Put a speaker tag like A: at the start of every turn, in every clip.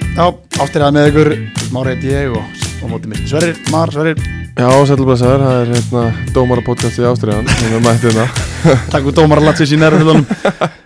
A: Já, áttir það með ykkur Mári heiti ég og, og móti misti Sverrir Mar, Sverrir,
B: Já, sælublessaður, það er hérna dómarapodcastið Ástriðan, hún er mættið hérna.
A: takk fyrir dómar að latsi sér næra hlutunum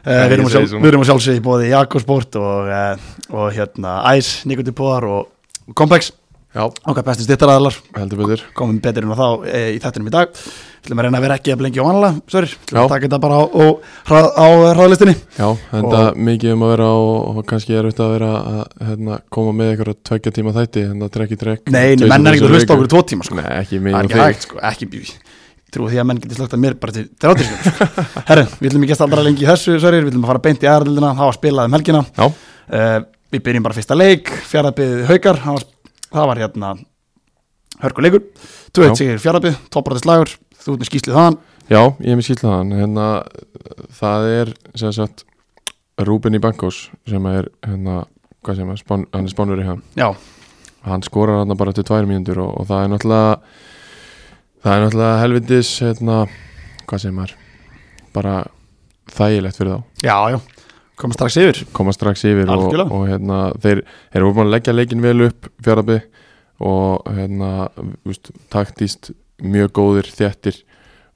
A: Eh, Við erum að
B: ég segi
A: sjálf-
B: svona.
A: við erum að sjálfsögja í bóði Jakobsport og, eh, og hérna Æs, Nikoti Póðar og og Complex
B: Já.
A: okkar bestu styrtaraðalar,
B: Heldur betur.
A: komum betur en þá e, í þettinum í dag Við ætlum að reyna að vera ekki að blengja óanlega, Sverrir Ætlum að
B: Já.
A: taka þetta bara á, á, hrað- á hraðlistinni
B: Já, þetta og... mikið um að vera og, og kannski er auðvitað að vera að hérna, koma með einhverja tveggja tíma þætti, hérna trekk í trekk.
A: Nei,
B: tvisvar
A: menn er ekkert
B: þrisvar
A: að hlusta á
B: viku.
A: okkur í tvo tíma sko.
B: Nei,
A: Það
B: ekki mikið
A: er
B: um
A: ekki
B: þig.
A: hægt sko, ekki ég trúi því að menn geti slögt að mér bara til þrjáttir sko. Herri, við ætlum ekki að staldra lengi í þessu Sverrir, við ætlum að fara beint í aðraldina hafa spilað um helgina
B: Já,
A: uh, Við byrjum bara fyrsta leik, fjaraðbyð haukar það var, það var hérna hörkuleikur, 2-1
B: Já.
A: sigur fjaraðbyð topbrotislægur, þú ert með skýslið þaðan
B: já, ég er mér skýtlað hann. Hérna, það er sem sagt Ruben í Bankos sem er hérna, hvað sem er, spán, hann er spánur í hann.
A: Já,
B: hann skorar hann bara til tvær mínútur og, og það er náttúrulega það er náttúrulega helvindis hérna, hvað segir maður bara þægilegt fyrir þá
A: já, já komum strax yfir,
B: koma strax yfir og,
A: Algjörlega.
B: og hérna, þeir þeir eru búin að leggja leikin vel upp fjarabi og hérna, úst, taktíst mjög góðir þjættir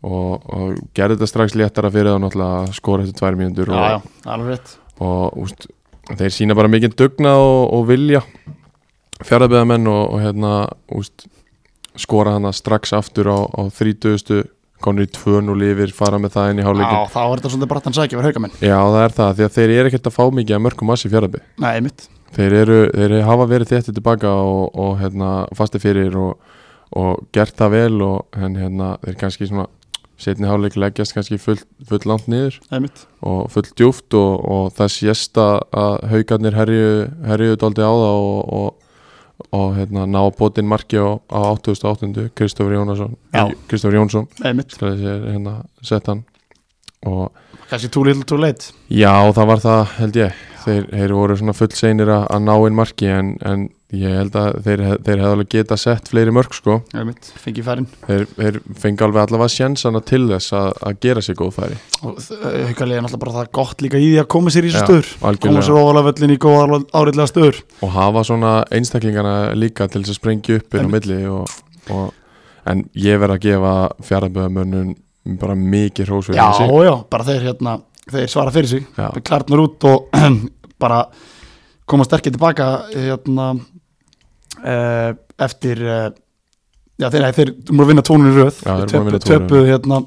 B: og, og gerði þetta strax léttara fyrir þá náttúrulega að skora til tvær mínútur
A: já,
B: og,
A: já, alveg rétt
B: og úst, þeir sína bara mikið dugna og, og vilja fjaraðbyðamenn og, og hérna úst, skora hana strax aftur á, á 30. konur í 2-0 yfir fara með það inn í
A: Já,
B: háluleikin
A: þá er þetta svolítið brattan sækja verið haukamenn
B: Já, það er það, því að þeir eru ekkert að fá mikið að mörgum massi fjaraðby
A: Nei, mitt,
B: þeir, eru, þeir hafa verið þéttið tilbaka og, og hérna, fasti fyrir og, og gert það vel og en, hérna, þeir kannski svona setni háluleik leggjast kannski full, full langt niður
A: nei, mitt
B: og fullt djúft og, og það sést að, að haugarnir herju, herjuðu daldi á það og, og, og hérna, ná bótinn marki á, á 88. Kristofur Jónasson
A: Já.
B: Kristofur Jónsson
A: Nei, mitt,
B: skal ég segja, hérna, sett hann og
A: kannski too little too late
B: já það var það held ég þeir, þeir voru svona full seinir að, að ná inn marki en, en ég held að þeir, hef- þeir hefði alveg geta sett fleiri mörg sko
A: Nei, mitt, fengi færin
B: þeir, þeir fengi alveg allavega sjensana til þess að, að gera sér góð færi
A: og haukarlega er náttúrulega bara það gott líka í því að koma sér í þessu
B: Já,
A: stöður koma
B: algjörlega.
A: sér ofalega völlin í góða áriðlega stöður
B: og hafa svona einstaklingana líka til þess að sprengja upp inn á
A: Einmitt.
B: milli og, og, en ég verð að gefa fjaraðböðamönnum bara mikið hrós fyrir
A: já,
B: þessi
A: já, bara þeir hérna þeir svara fyrir sig,
B: Já.
A: þeir klarnar út og bara koma sterkir tilbaka hérna eh, eftir eh, já, þeir, nei, þeir múlu að vinna tónunni röð
B: Já, þeir eru búin að vinna tvö í
A: töpu hérna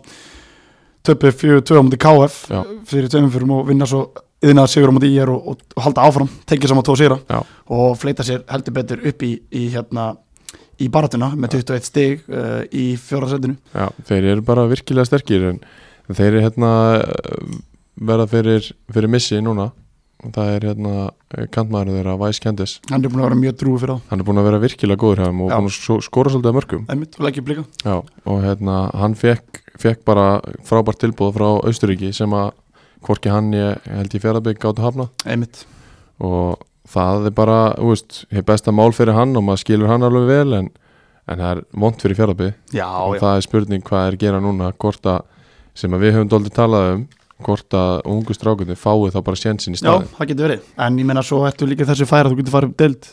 A: töpu fjögur tvö á múti KF
B: Já.
A: fyrir tveimum fyrir og vinna svo yðnað sigur á múti IR og, og, og halda áfram, tekið saman tvo sigra
B: Já.
A: og fleita sér heldur betur upp í, í hérna í baratuna með 21 stig uh, í fjóraðsætinu
B: Já, þeir eru bara virkilega sterkir en þeir eru hérna eh, verða fyrir, fyrir missi núna og það er hérna eh, kantmaður þeirra Væs Kendis,
A: hann er búin að vera mjög drúi fyrir
B: hann er búin að vera virkilega góður hefum og
A: Já.
B: búin að svo- skora svolítið að mörgum
A: það einmitt og leggjum blika
B: Já, og hérna, hann fekk, fekk bara frábært tilbúð frá Austuríki sem að hvorki hann ég held ég fjaraðbygg gáttu hafna
A: einmitt
B: og það er bara, þú veist, hér besta mál fyrir hann og maður skilur hann alveg vel en, en það er vond fyrir fjárhafi
A: já,
B: og
A: já,
B: það er spurning hvað er að gera núna hvort að, sem að við höfum doldið talað um hvort að ungu strákunni fái þá bara sjensin í
A: já,
B: staðin
A: það getur verið en ég menna svo ertu líka þessu færa þú getur farið upp deild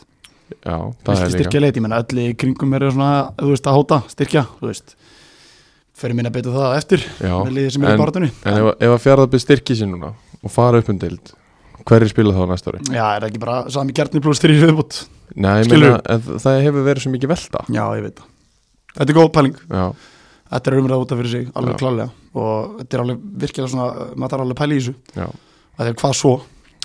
B: já, það
A: viltu
B: er líka
A: styrkja leit, ég menna öll í kringum eru svona þú veist að hóta, styrkja, þú veist fyrir minna betur það á eftir
B: já.
A: með liðið sem er í
B: en,
A: baratunni
B: en ef, ef að fjárhafi styrki sér núna og fara upp um deild hverju spila þá næsta ári?
A: já, er það ekki bara sami kjarni pluss þrýr viðbútt
B: Nei, ég
A: Skilurðu?
B: meina, en það hefur verið svo mikið velta
A: já, ég veit það þetta er góð pæling
B: Já,
A: þetta er umræða út af fyrir sig, alveg
B: Já.
A: klálega og þetta er alveg virkilega svona, maður þarf alveg að pæla í þessu
B: já,
A: að þeir hvað svo,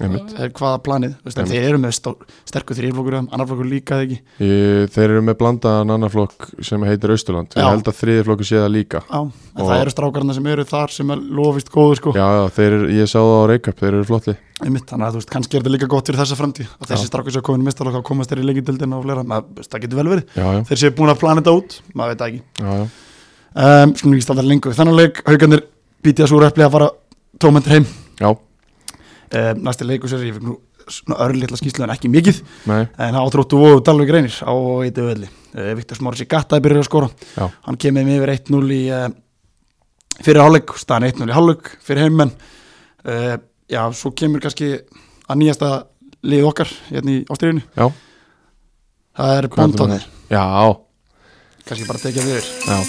B: einmitt
A: þeir hvað planið þú veist, en
B: Einmitt.
A: þeir eru með stó- sterku þrýrflokkur annar flokkur líka eða ekki
B: Ég- Þeir eru með blandaðan annar flokk sem heitir Austurland Ég
A: Já.
B: held að þriði flokku sé það líka
A: Já, en
B: Og-
A: það eru strákarna sem eru þar sem er lofist góður sko
B: Já, já, þeir eru, ég sá það á Reykjavík, þeir eru flottli
A: einmitt, þannig að þú veist, kannski er þetta líka gott fyrir þessa framtíð að þessi
B: Já.
A: strákar sem komin mistalokk að komast þér í leikindildin og fleira, maður, veist, það getur vel verið
B: Já, já,
A: þeir séu búin að plana þetta út, maður veit það ekki
B: já, já,
A: um, Skulum ekki staldar lengur, við þannig leik haugarnir býtið að súra epli að fara tómendur heim
B: já,
A: um, næsti leikur sér, ég fikk nú svona örlítla skýslu en ekki mikið,
B: nei,
A: en það átróttu og Dalvik reynir á eitthvað velli uh, Viktor Smáris í gattaði byrjar að skora
B: já,
A: hann kemur með yfir 1-0 í uh, fyrir hálfleik, Eh, staðan 1-0 í hálfleik fyrir heimenn uh, já, svo kemur kannski að nýjasta lið okkar hérna í ástriðinu
B: Já.
A: það er
B: Hvað heldur þú
A: bóndanir,
B: Já,
A: kannski bara tekja þér
B: já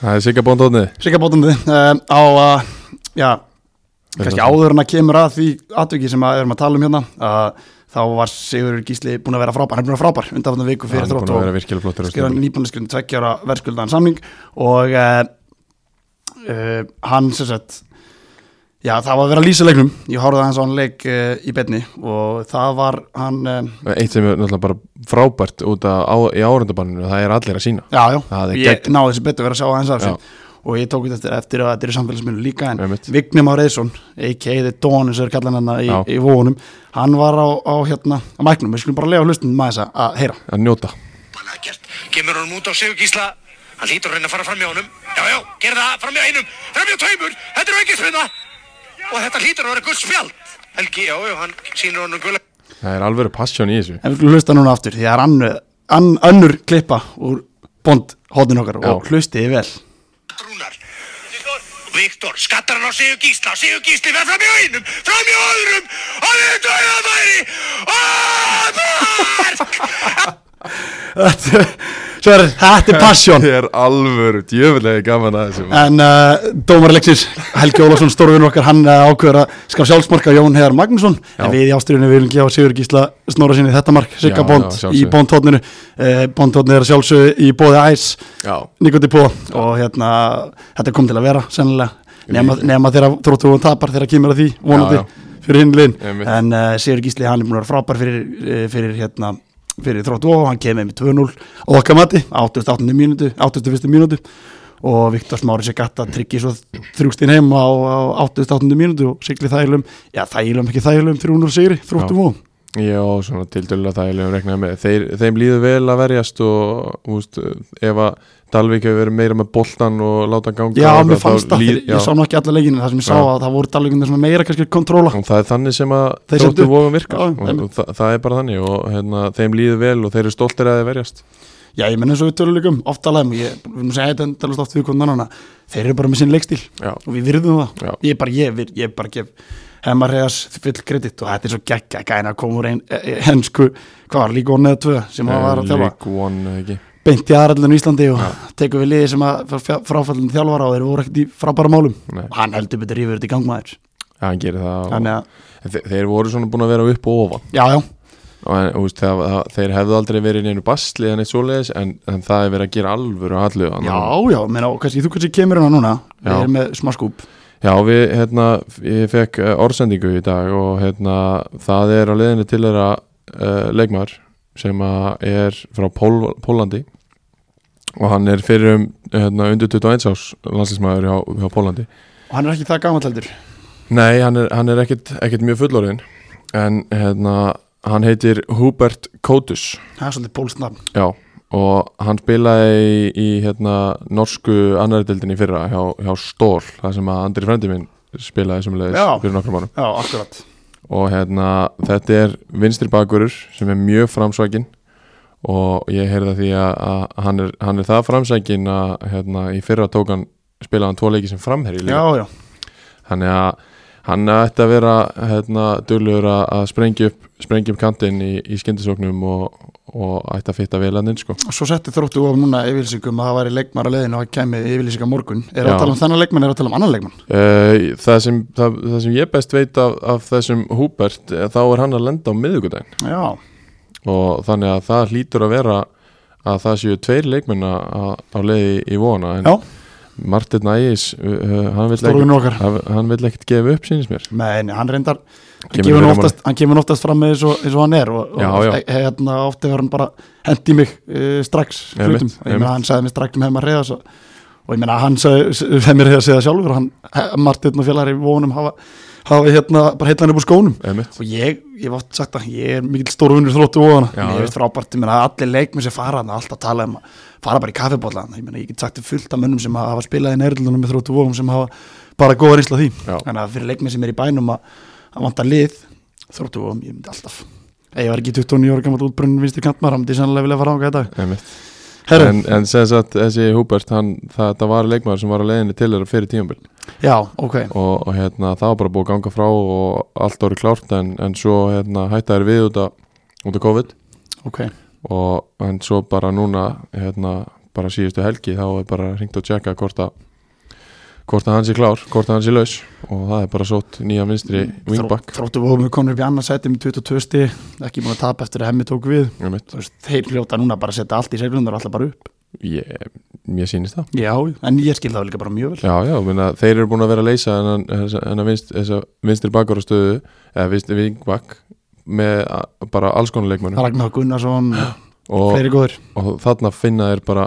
B: Það er sigga bóndóðni
A: Sigga bótandi um, á að, já, kannski áður en að kemur að því atviki sem að erum að tala um hérna að þá var Sigurður Gísli búin að vera frábær, hann er búin að vera frábær undanfæðan viku fyrir þrótt
B: Það
A: og
B: er virkilega flottur á
A: skrifa
B: Snæfell.
A: nýbúnaskriðin tveggjára verðskuldaðan samning og uh, uh, hann sem sagt já það var að vera að lýsa leiknum ég horfði hans á hann leik uh, í betni og það var hann uh,
B: Eitt sem er náttúrulega bara frábært út af á, í árundabanninu það er allir að sína
A: já já,
B: Það er
A: ég
B: gegn.
A: náði þessi betur að vera að sjá hans af
B: Já.
A: þessu og ég tók þetta eftir að þetta er í samfélagsmyndu líka en
B: Einmitt.
A: Vignum á Reyðsson, a.k.a. The Dawn eins og er kallan hann hérna í,
B: Já.
A: í vóunum hann var á, á hérna, á mæknum við skulum bara lega hlustin maður þess að- að heyra
B: að njóta
C: Hann ekkert, kemur honum út á Sigurgísla Hann lítur að reyna að fara fram í honum Já, já, gerð það, fram í einum, fram í tveimur Þetta er ekki spilna Og þetta lítur að vera gull spjald Helgi, já, já, hann sýnir honum gull
B: Það er alveg passjón í þessu
A: en við skulum hlusta núna aftur því það er annu, ann, önnur klippa úr bond hóttin okkar og
B: Já.
A: hlustiði vel
C: Rúnar Viktor, skattar hann á Sigurgísla Sigurgísli verð fram í einum, fram í öðrum Og við tveimur færi Og mark
A: Þetta Sverrir, þetta er passion
B: Þetta er alvöru, djöfulega gaman að þessu maður.
A: En uh, dómar Alexis, Helgi Ólafsson, stórvinur okkar, hann uh, ákveður að skaf sjálfsmarka Jón Heðar Magnússon En við í ástriðinu viljum gefa Sigur Gísla snóra sinni þetta mark Sigga
B: Já,
A: Bond
B: já,
A: í
B: sjálfsögðu.
A: Bondhóttninu uh, Bondhóttninu er að sjálfsögðu í bóði æs
B: Já,
A: Nikoti Pó Og hérna, þetta kom til að vera sennilega Nema, nema þeirra þróttu og tapar þeirra kemur að því vonandi
B: Já,
A: fyrir hinn liðin
B: Einmitt.
A: En uh, Sigur Gísli, hann er búin að vera frábær fyrir, eh, fyrir hérna fyrir þróttu og hann kemur með 2-0 og okkar mati, 88. mínútu 81. mínútu og Viktor Smári sér gatt að tryggja svo þrjústinn heim á, á 88. mínútu og sigli þælum, já þælum ekki þælum 300 sigri, þróttu
B: Já.
A: og
B: já svona tildurlega þægilegum regnaði með Þeir, Þeim líður vel að verjast og úst, ef að Dalvík hefur verið meira með boltan og láta hann ganga
A: Já,
B: og
A: mér
B: eitthvað,
A: fannst
B: þá
A: það,
B: líð-
A: líð, ég
B: já.
A: sá nú ekki alla leikinu þar sem ég sá
B: Já.
A: að það voru dalvíkundir sem meira kannski kontróla
B: og það er þannig sem að
A: Þeir settu
B: þróttu
A: upp.
B: vóðum virkar
A: Já,
B: og,
A: einmitt.
B: og það, það er bara þannig og hérna, þeim líður vel og þeir eru stoltir að þeir verjast
A: Já, ég menn eins og við tölum líka um, oft talaðum ég vil nú segja þetta endalast oft við konan hana þeir eru bara með sinn leikstíl
B: Já.
A: og við virðum það
B: Já.
A: ég bara, ég, vir- ég bara gef hemmar reyðas full kredit og þetta er svo geggja gæna að koma úr ein, e, e, hensku hvað var líka onnið eða tvö sem hann var að þjálfa
B: Eh, League One eða ekki
A: beint í aðræðlunum Íslandi og tekur við liði sem að fráfallin þjálfara og þeir voru ekkert í frábæra málum
B: Nei.
A: og hann heldur betur yfir þetta í gangmaður
B: Já, hann gerir það og,
A: þannig að,
B: Þe- Þeir voru svona búin að vera upp og ofan
A: já, já,
B: og en, úst, það, það, þeir hefðu aldrei verið í neinu basli en eitt svoleiðis en, en það er verið að gera alvöru allu
A: já, já menna, og kannski þú kannski kemur hana núna við
B: Já.
A: erum með smá skúp
B: já við, hérna, ég fekk eh, orðsendingu í dag og hérna, það er á leiðinni til þeirra uh, leikmaður sem að er frá Pól, Pólandi og hann er fyrir um hérna, undir 21 árs landslísmaður hjá, hjá Pólandi
A: og hann er ekki það gamall heldur
B: Nei, hann er, hann er ekkit, ekkit mjög fullorðin en hérna, hann heitir Hubert Kotus
A: það er svolítið pólstnafn
B: Já, og hann spilaði í, í hérna, norsku annardeildinni í fyrra hjá, hjá Stór, það sem að Andri frendi minn spilaði sem leiðis
A: Já.
B: fyrir nokkrum árum
A: já, akkurat
B: og hérna, þetta er vinstri bakvörur sem er mjög framsvækin og ég heyrði að því að, að hann, er, hann er það framsækin að hérna, í fyrra tók hann spilaði hann tvo leiki sem framherri líka
A: já, já,
B: þannig að hann ætti að vera hérna, duglur að, að sprengja upp, sprengja upp kantinn í, í skyndisóknum og, og ætti að fitta vel að ninn sko
A: og svo setti þróttu og núna yfirlýsingum að það væri leikmar að leiðinu og það kæmi yfirlýsing á morgun er
B: Já.
A: að tala um þennan leikmann, er að tala um annan leikmann
B: Eh, það, sem, það, það sem ég best veit af, af þessum Húbert eh, þá er hann að lenda á miðvikudaginn
A: já,
B: og þannig að það hlýtur að vera að það séu tveir leikmenn að- að- á leiði í vona en
A: já,
B: Martin Ægis uh, hann vill
A: stórvinn
B: ekkert-
A: okkar
B: hann- hann vill ekkert gefa upp sínist mér
A: menn, hann reyndar hann
B: Kemur
A: kemur, nú
B: fyrir
A: oftast, hann kemur nú oftast fram með eins og, eins og hann er og,
B: Já,
A: og
B: já.
A: he- Hérna, oft hefur hann bara hendi mig uh, strax
B: Einmitt,
A: hlutum, ég meina
B: einmitt.
A: hann sagði mér strax um hefum að reyða svo og ég meina hann sagði hefum að reyða sig það sjálfur og hann, Martin og félagri vonum hafa hafi hérna bara heitlan upp úr skónum
B: Einmitt.
A: og ég, ég hef oft sagt að ég er mikill stóru vinnur þróttu og hana,
B: Já,
A: ég
B: já.
A: veist frábært, ég meina að allir leikmenn sem fara hana, alltaf tala um að fara bara í kaffibólla hana, ég meina ég get sagt til fullt af mönnum sem hafa spilað í nærlunum með þróttu vóðum sem hafa bara góða reynsla af því,
B: Já.
A: þannig að fyrir leikmenn sem er í bænum að, að vanta lið þróttu vóðum, ég myndi alltaf ef ég var ekki 29 ára gammal útbrunnin vinstir kantmar þá myndi ég sannlega vilja fara á í dag
B: Einmitt.
A: Herru,
B: En, en sem sagt, þessi Húbert hann, það, það var leikmaður sem var að leiðinni til þeirra fyrir tíumbil
A: já, ok
B: og, og hérna, það var bara búið að ganga frá og allt orði klárt en, en svo hérna, hætta þær við út af, út af COVID
A: ok,
B: og en svo bara núna hérna, bara síðustu helgi þá er bara hringt og tjekka hvort að hvort að hann sé klár, hvort að hann sé laus og það er bara sótt nýja vinstri wingback
A: þróttu vóðum við konur upp í annarsæti með 22 stig, ekki múin að tapa eftir að hemmi tók við
B: Einmitt.
A: Þú veist, þeir hljóta núna bara að setja allt í seglundar og alltaf bara upp
B: ég, mér sýnist það
A: Já, en ég skil það líka bara mjög vel
B: Já, já, minna, þeir eru búin að vera að leysa en að vinst, þessa vinstri bakkar á stöðu eða vinstri vingbakk með a- bara alls konar leikmönnum
A: Ragnar Gunnarsson,
B: og,
A: fleiri góður
B: og þarna finna þeir bara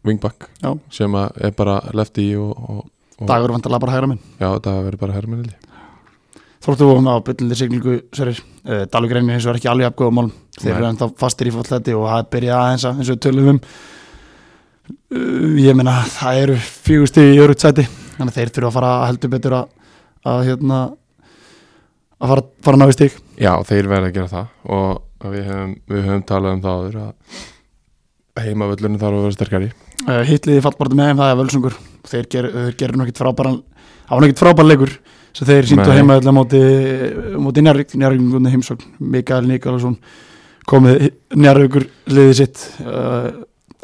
B: vingbakk
A: Já.
B: sem að er bara lefti í og, og, og
A: Dagur vantarlega bara hægra minn
B: já, það verður bara herminni
A: Þróttu vóðum á byllandi siglingu Sverir, uh, Dalugreinu hins vegar ekki alveg afgöðum málum Þeir
B: Nei.
A: eru ennþá fastir í fótlæti og það er byrjað aðeins að eins og við tölum um uh, Ég meina, það eru fjögusti í öru sæti Þannig að þeir þurfa að fara að heldur betur að, að hérna að fara, fara að ná í stík
B: Já, þeir verða að gera það og við höfum, við höfum talað um það áður að heimavöllunum þarf að vera sterkari
A: uh, hitliði fallborti með þeim það er völsungur þeir, ger, þeir gerir nokkið frábæran það var nokkið frábæran leikur sem þeir síndu
B: Nei.
A: heima öll á móti, á móti njárvík njárvíkunni heimsókn, Mikael Nikolásson komið njárvíkur liðið sitt uh,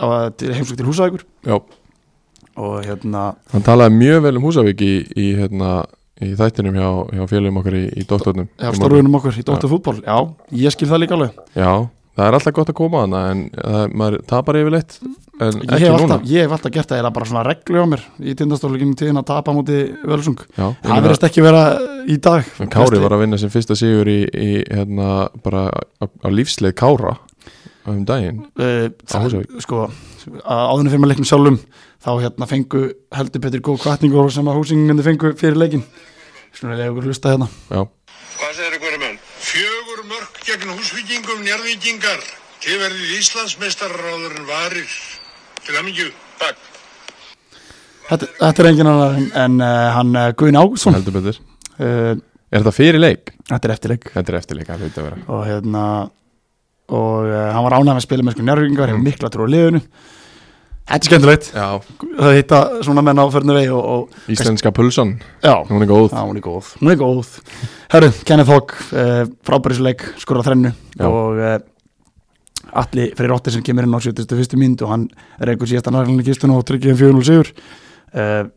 A: á að- til heimsókn til húsavíkur
B: Já,
A: og hérna
B: hann talaði mjög vel um Húsavík í, í, hérna, í þættinum hjá, hjá félagum okkar í, í doktornum
A: hjá stórunum okkur í Dóttu fútból já, ég skil það líka alveg
B: Já, það er alltaf gott að koma hana en það, maður tapar yfirleitt en
A: ég
B: ekki
A: hef,
B: núna
A: alltaf, ég hef alltaf gert það, það er bara svona reglu á mér í tindastóluginu tíðin að tapa á móti völsung
B: Já, ég
A: það
B: meina,
A: verðist ekki vera í dag
B: en Kári var að vinna sem fyrsta sigur í, í hérna, bara á, á lífsleið Kára um daginn
A: Eh, það,
B: Húsavík.
A: sko, áðunni fyrir maður leiknum sjálfum þá hérna fengu heldur betur góð kvartningur sem að húsingandi fengu fyrir leikin svona lega okkur hlusta hérna
B: Já,
D: Hvað segir ykkur um menn?
C: Fjögur mörk gegn húsvíkingum njörðvíkingar. Þið verðið Íslandsmeistarar áður en varir. Til hamingju. Takk.
A: þetta, þetta er engin annar en, en uh, hann uh, Guðin Ágússon uh,
B: heldur betur
A: þetta
B: Er þetta fyrir leik?
A: Eh, er eftirleik
B: Þetta er eftirleik, það hlut að vera
A: og hérna og uh, hann var ánægð með að spila með sko njárvíkingar hefur mikla trú á liðinu þetta er skemmtilegt
B: Já,
A: það hitta svona menn áferðinu vegi og, og
B: Íslenska pulsan,
A: já,
B: hún er góð
A: Já, hún er góð, hún er góð Herru, Kenneth Hogg, uh, frábærisleik skurra þrennu
B: Já.
A: og uh, Alli Freyr Otti sem kemur inn á 71. mynd og hann er einhver síðasta nærlinni kistun og tryggið um 4-0 sigur uh,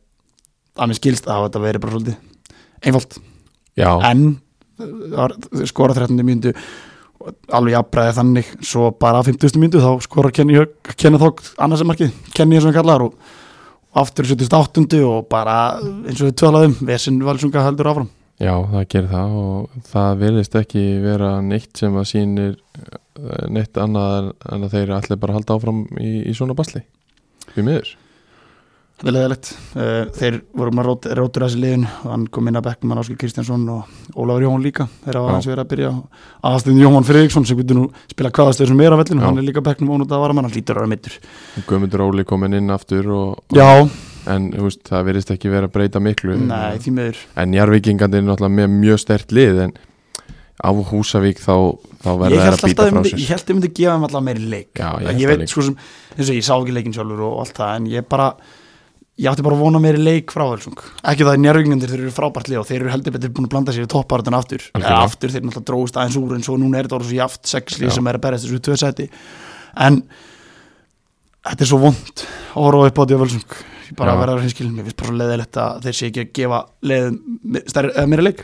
A: að mér skilst að þetta veri bara svolítið einfalt,
B: Já,
A: en uh, skora 13. myndu alveg jafnbræði þannig svo bara á 50. myndu þá skora Kenny Hogg, Kenneth Hogg annars sem markið, Kenny eins og hann kallar og og aftur í 78. og bara eins og við tölaðum, Vesin Valsunga heldur áfram
B: já, það gerir það og það vilist ekki vera neitt sem að sýnir eh, neitt annað en- en að þeir allir bara halda áfram í, í svona basli Við miður
A: Þetta er leðilegt. Þeir voru maður rót, rótur að þessi liðin og hann kom inn að Beckmann, Áskil Kristjánsson og Ólafur Jóhann líka. Þeir hafa
B: Já.
A: aðeins verið að byrja aðastin Jóhann Friðriksson sem getur nú spila hvaða stöð sem er af vellinu.
B: Já.
A: Hann er líka Beckmann og það var að mann, hann lítur að vera mittur.
B: Guðmundur Óli komin inn aftur og,
A: Já,
B: en þú veist, það virðist ekki vera að breyta miklu
A: nei, því meður.
B: en Jarvíkingandi er náttúrulega með mjög stert lið en á Húsavík þá, þá
A: Ég
B: verða þeir
A: held
B: að
A: alltaf um-
B: býta
A: að
B: frá
A: myndi,
B: sér
A: ég held að ég myndi gefa þeim alltaf meiri leik.
B: Já, ég
A: ég,
B: held það
A: veit
B: líka.
A: sko sem, eins og ég sá ekki leikin sjálfur og allt það en ég bara, ég átti bara að vona meiri leik frá Völsung. Ekki það að njárvíkingandir þeir eru frábært lið og þeir eru heldur betur búin að blanda sér í topparöðun aftur. Eða
B: Algjörlega.
A: aftur þeir náttúrulega dróðust aðeins úr en svo núna er þetta orðið svo jaft sexli
B: Já.
A: sem er að berjast þessu tvö seti en þetta er svo vond að horfa upp á því að Völsung. Ég bara
B: Já.
A: verða að hinskilin, ég finnst bara svo leiðilegt að þeir sé ekki að gefa leiðum stærri, eða meiri leik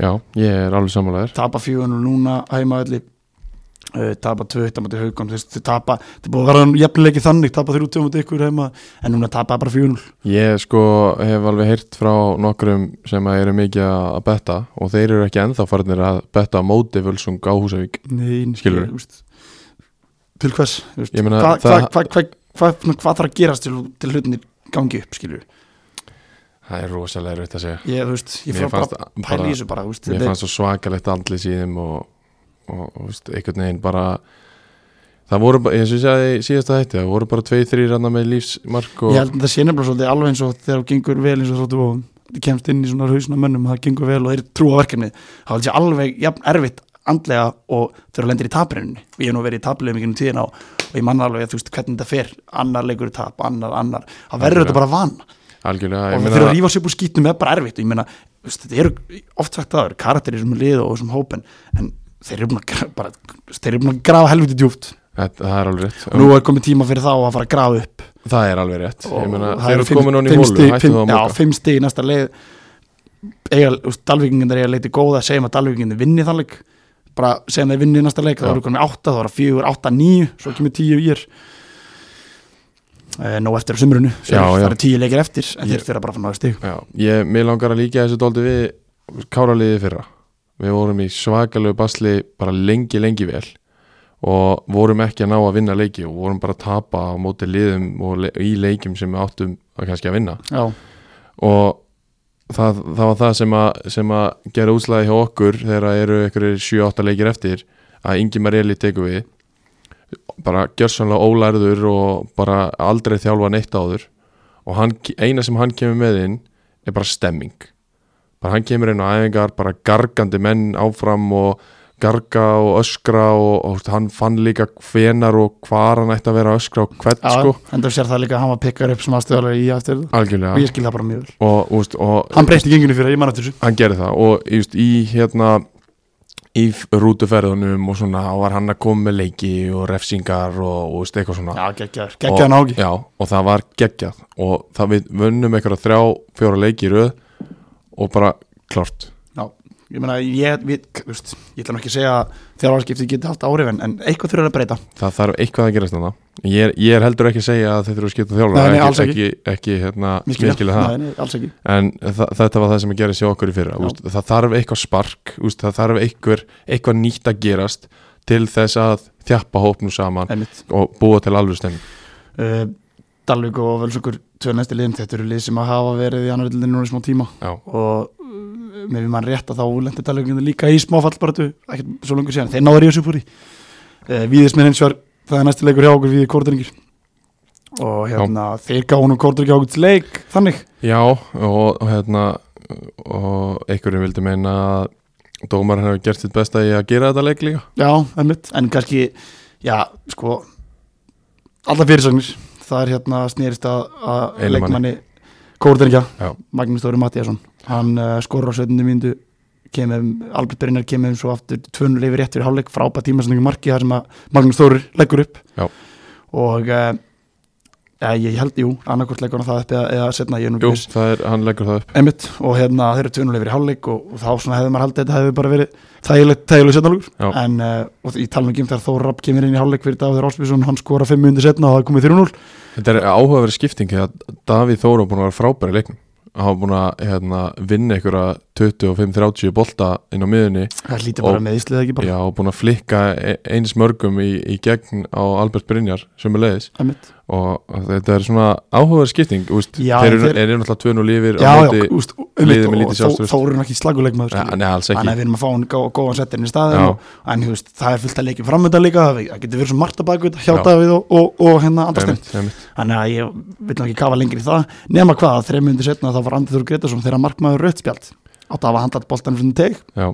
B: Já, ég er alveg sammálaður
A: tapa 4-0 núna heimaðalli uh, tapa 2-1 á móti haugum þeir tapa, þeir búið að vera jafnileiki þannig tapa 3-2 á móti ykkur heima en núna tapa bara 4-0
B: Ég sko hef alveg heyrt frá nokkrum sem að eru mikið að betta og þeir eru ekki ennþá farnir að betta á móti völsung á Húsavík
A: Nein,
B: Skilurðu?
A: ég, veist, til hvers þú veist,
B: Ég meina,
A: hvað
B: það-
A: hva, hva, hva, hva, hva þarf að gerast til, til hlutinir gangi upp skilur
B: það er rosalega erfitt að segja
A: ég, þú veist, ég
B: Mér
A: fór bara
B: fannst
A: að
B: bara-
A: pæla í þessu bara, þú veist,
B: Mér
A: þetta er-
B: fannst svo svakalegt andlis í þeim og, og, og veist, einhvern veginn bara það voru bara, eins og ég sagði síðast að þetta, það voru bara tveið, þrýr annar með lífsmark og
A: ég held að það sé nefnilega svolítið alveg eins og þegar þú gengur vel eins og þróttu og þú kemst inn í svona hausna mönnum það gengur vel og þeir trúa verkefni þá held ég alveg jafn erfitt andlega og þegar þú lendir í taprenunni og ég hef nú verið í taplegum ekki um tíðina og, og ég manna alveg að þú veist hvernig þetta fer annar leikur í tap, annar, annar það verður þetta bara van
B: algjörlega,
A: og það fyrir að
B: ég meina
A: rífa sér búið skýtnum er bara erfitt og ég meina, þú veist, þetta eru oft sagt aður karakterir sem lið og sem hópen en þeir eru búin að, gra- bara, þú veist, þeir eru búin að grafa helviti djúpt
B: þetta- það er alveg rétt
A: og nú er komið tíma fyrir þá að fara að grafa upp
B: það er alveg rétt, ég meina
A: Og það
B: þeir eru
A: fimm-
B: komin án í
A: fimm
B: hólu,
A: stig-
B: hættu
A: fimm-
B: það að
A: Já,
B: móka
A: fimm stig í næsta leið eiga, úst, Dalvíkingindar eiga leiti góða segjum að Dalvíkingindar vinni þannleik bara segjum þeir vinni í næsta leik
B: Já.
A: þá eru komin átta, þá eru fjögur, átta, níu svo kemur tíu í er Nó eftir á sumrunu, Svo
B: Já,
A: eru-
B: já.
A: það eru tíu leikir eftir en
B: Ég-
A: þeir fyrir bara að fá náðu stig
B: Já, ég, mér langar að líka þessu dóldi við káraliði fyrra við vorum í svakalegu basli bara lengi, lengi vel og vorum ekki að ná að vinna leiki og vorum bara að tapa á móti liðum og le í leikjum sem við áttum að kannski að vinna
A: Já,
B: og það, það var það sem að, sem að gera útslæði hjá okkur þegar það eru einhverjir 7-8 leikir eftir að Ingi Marieli tekur við bara gjörsanlega ólærður og bara aldrei þjálfa neitt áður og hann, eina sem hann kemur með inn er bara stemming bara hann kemur inn á æfingar bara gargandi menn áfram og garga og öskra og, og hann fann líka hvenar og hvar hann ætti að vera að öskra og hvern
A: já
B: sko
A: en það sér það líka að hann var pikkar upp sem aðstöðalari í eftir það og ég
B: algjörlega
A: skil það bara mjög vel
B: og, og, veist, og
A: Hann breytti genginu fyrir, ég man eftir þessu
B: hann gerði það og just, í hérna í f- rútuferðunum og svona var hann að koma með leiki og refsingar og, og veist, eitthvað svona
A: Já, geggjaður, geggjaðan
B: Og-
A: ági
B: já, og það var geggjað og það við vönnum einhverja þrjá, fjóra leiki í röð og bara klart
A: Já, ég meina, ég, við, þú veist, ég ætla nú ekki að segja að þjálfarskipti geti haft áhrif en, en eitthvað þurfa að breyta
B: það þarf eitthvað að gerast þannig ég, er- ég er heldur ekki að segja að þetta eru skipta þjálfur
A: Nei, nei, alls
B: ekki, ekki, ekki hérna,
A: Mikilvægt.
B: miskilja það
A: Nei, nei, alls ekki
B: en þa þetta var það sem að gera sér okkur í fyrra
A: Já.
B: úst, það þarf eitthvað spark úst, það þarf eitthvað, eitthvað nýtt að gerast til þess að þjappa hópnum saman
A: Einmitt.
B: og búa til alveg stemning
A: uh, Dalvík og Völsungur tvö næsti liðin, þetta eru lið sem að hafa verið í annar dildinu núna í smá tíma
B: já,
A: og uh, með við mann rétt að þá lendi Dalvíkinu líka í smá fallbaratu ekkert svo langur síðan, þeir náður í þessu púri uh, Víðismenn eins og það er næsti leikur hjá okkur Víði Kortringir og hérna, þeir gáðu nú Kortringi ákvæmt leik, þannig
B: já og, og hérna og einhverjum vildi meina að dómarinn hefur gert sitt besta í að gera þetta leik líka
A: Já, einmitt, en kannski já, sko alla fyrirsagnir, það er hérna snerist að, að
B: Einum manni.
A: leikmanni kórdengja,
B: Já.
A: Magnús Þóri Mattíasson hann uh, skorur á 17. mínútu kemum, Albert Brynjar kemum svo aftur tvönu leifir rétt fyrir hálfleik, frábæð tímasendingu marki þar sem að Magnús Þóri leggur upp
B: Já.
A: og uh, eh, ég held, jú, annarkvort leggur hann það upp eða, eða setna, ég er nú
B: jú,
A: ekki viss
B: það er, hann leggur það upp
A: einmitt, og hérna þeir eru tvinnulegur í hálfleik og, og þá svona hefði maður haldið að þetta hefði bara verið þægilegt, þægilegt
B: Já.
A: setnalugur en uh, og ég tala nú ekki um þegar Þóra Rapp kemur inn í hálfleik fyrir Davíð Rásbjörnsson, hann skora 5 minnir setna og það er komið 3-0
B: þetta er áhugaverð skipting því að Davíð Þóra búin að vera frábæri leiknum hann hafa búin að hérna, vinna einhverja 25-30 bolta inn á miðunni
A: það lítið
B: Og-
A: bara með Íslið ekki bara
B: Já, og búin að flikka e- eins mörgum í, í gegn á Albert Brynjar sem er leiðis
A: einmitt.
B: og þetta er svona áhugaður skipting úst,
A: Já,
B: þeir eru
A: þeir-
B: þeir... náttúrulega tvön og lífir
A: já,
B: á
A: já,
B: móti,
A: úst, einmitt,
B: liðið með
A: og
B: lítið
A: Þó-
B: sjálfstraust.
A: Þóra er nú ekki slaguleik maður
B: Nei, alls
A: þannig að
B: ekki
A: við erum að fá hann gó, góðan settin í
B: Já.
A: staðin og, en þú veist, það er fullt að leikja framönda líka það það getur verið svo margt að baka þetta hjá
B: Já.
A: Davíð og, og, og hérna andarstinn
B: Einmitt, einmitt.
A: þannig að ég vil nú ekki kafa lengri í það nema hvað, að þreim myndir setna þá var Andri Þór Gretarsson þegar markmaður rauðspjald átt að hafa handlat boltan fyrir teg
B: Já.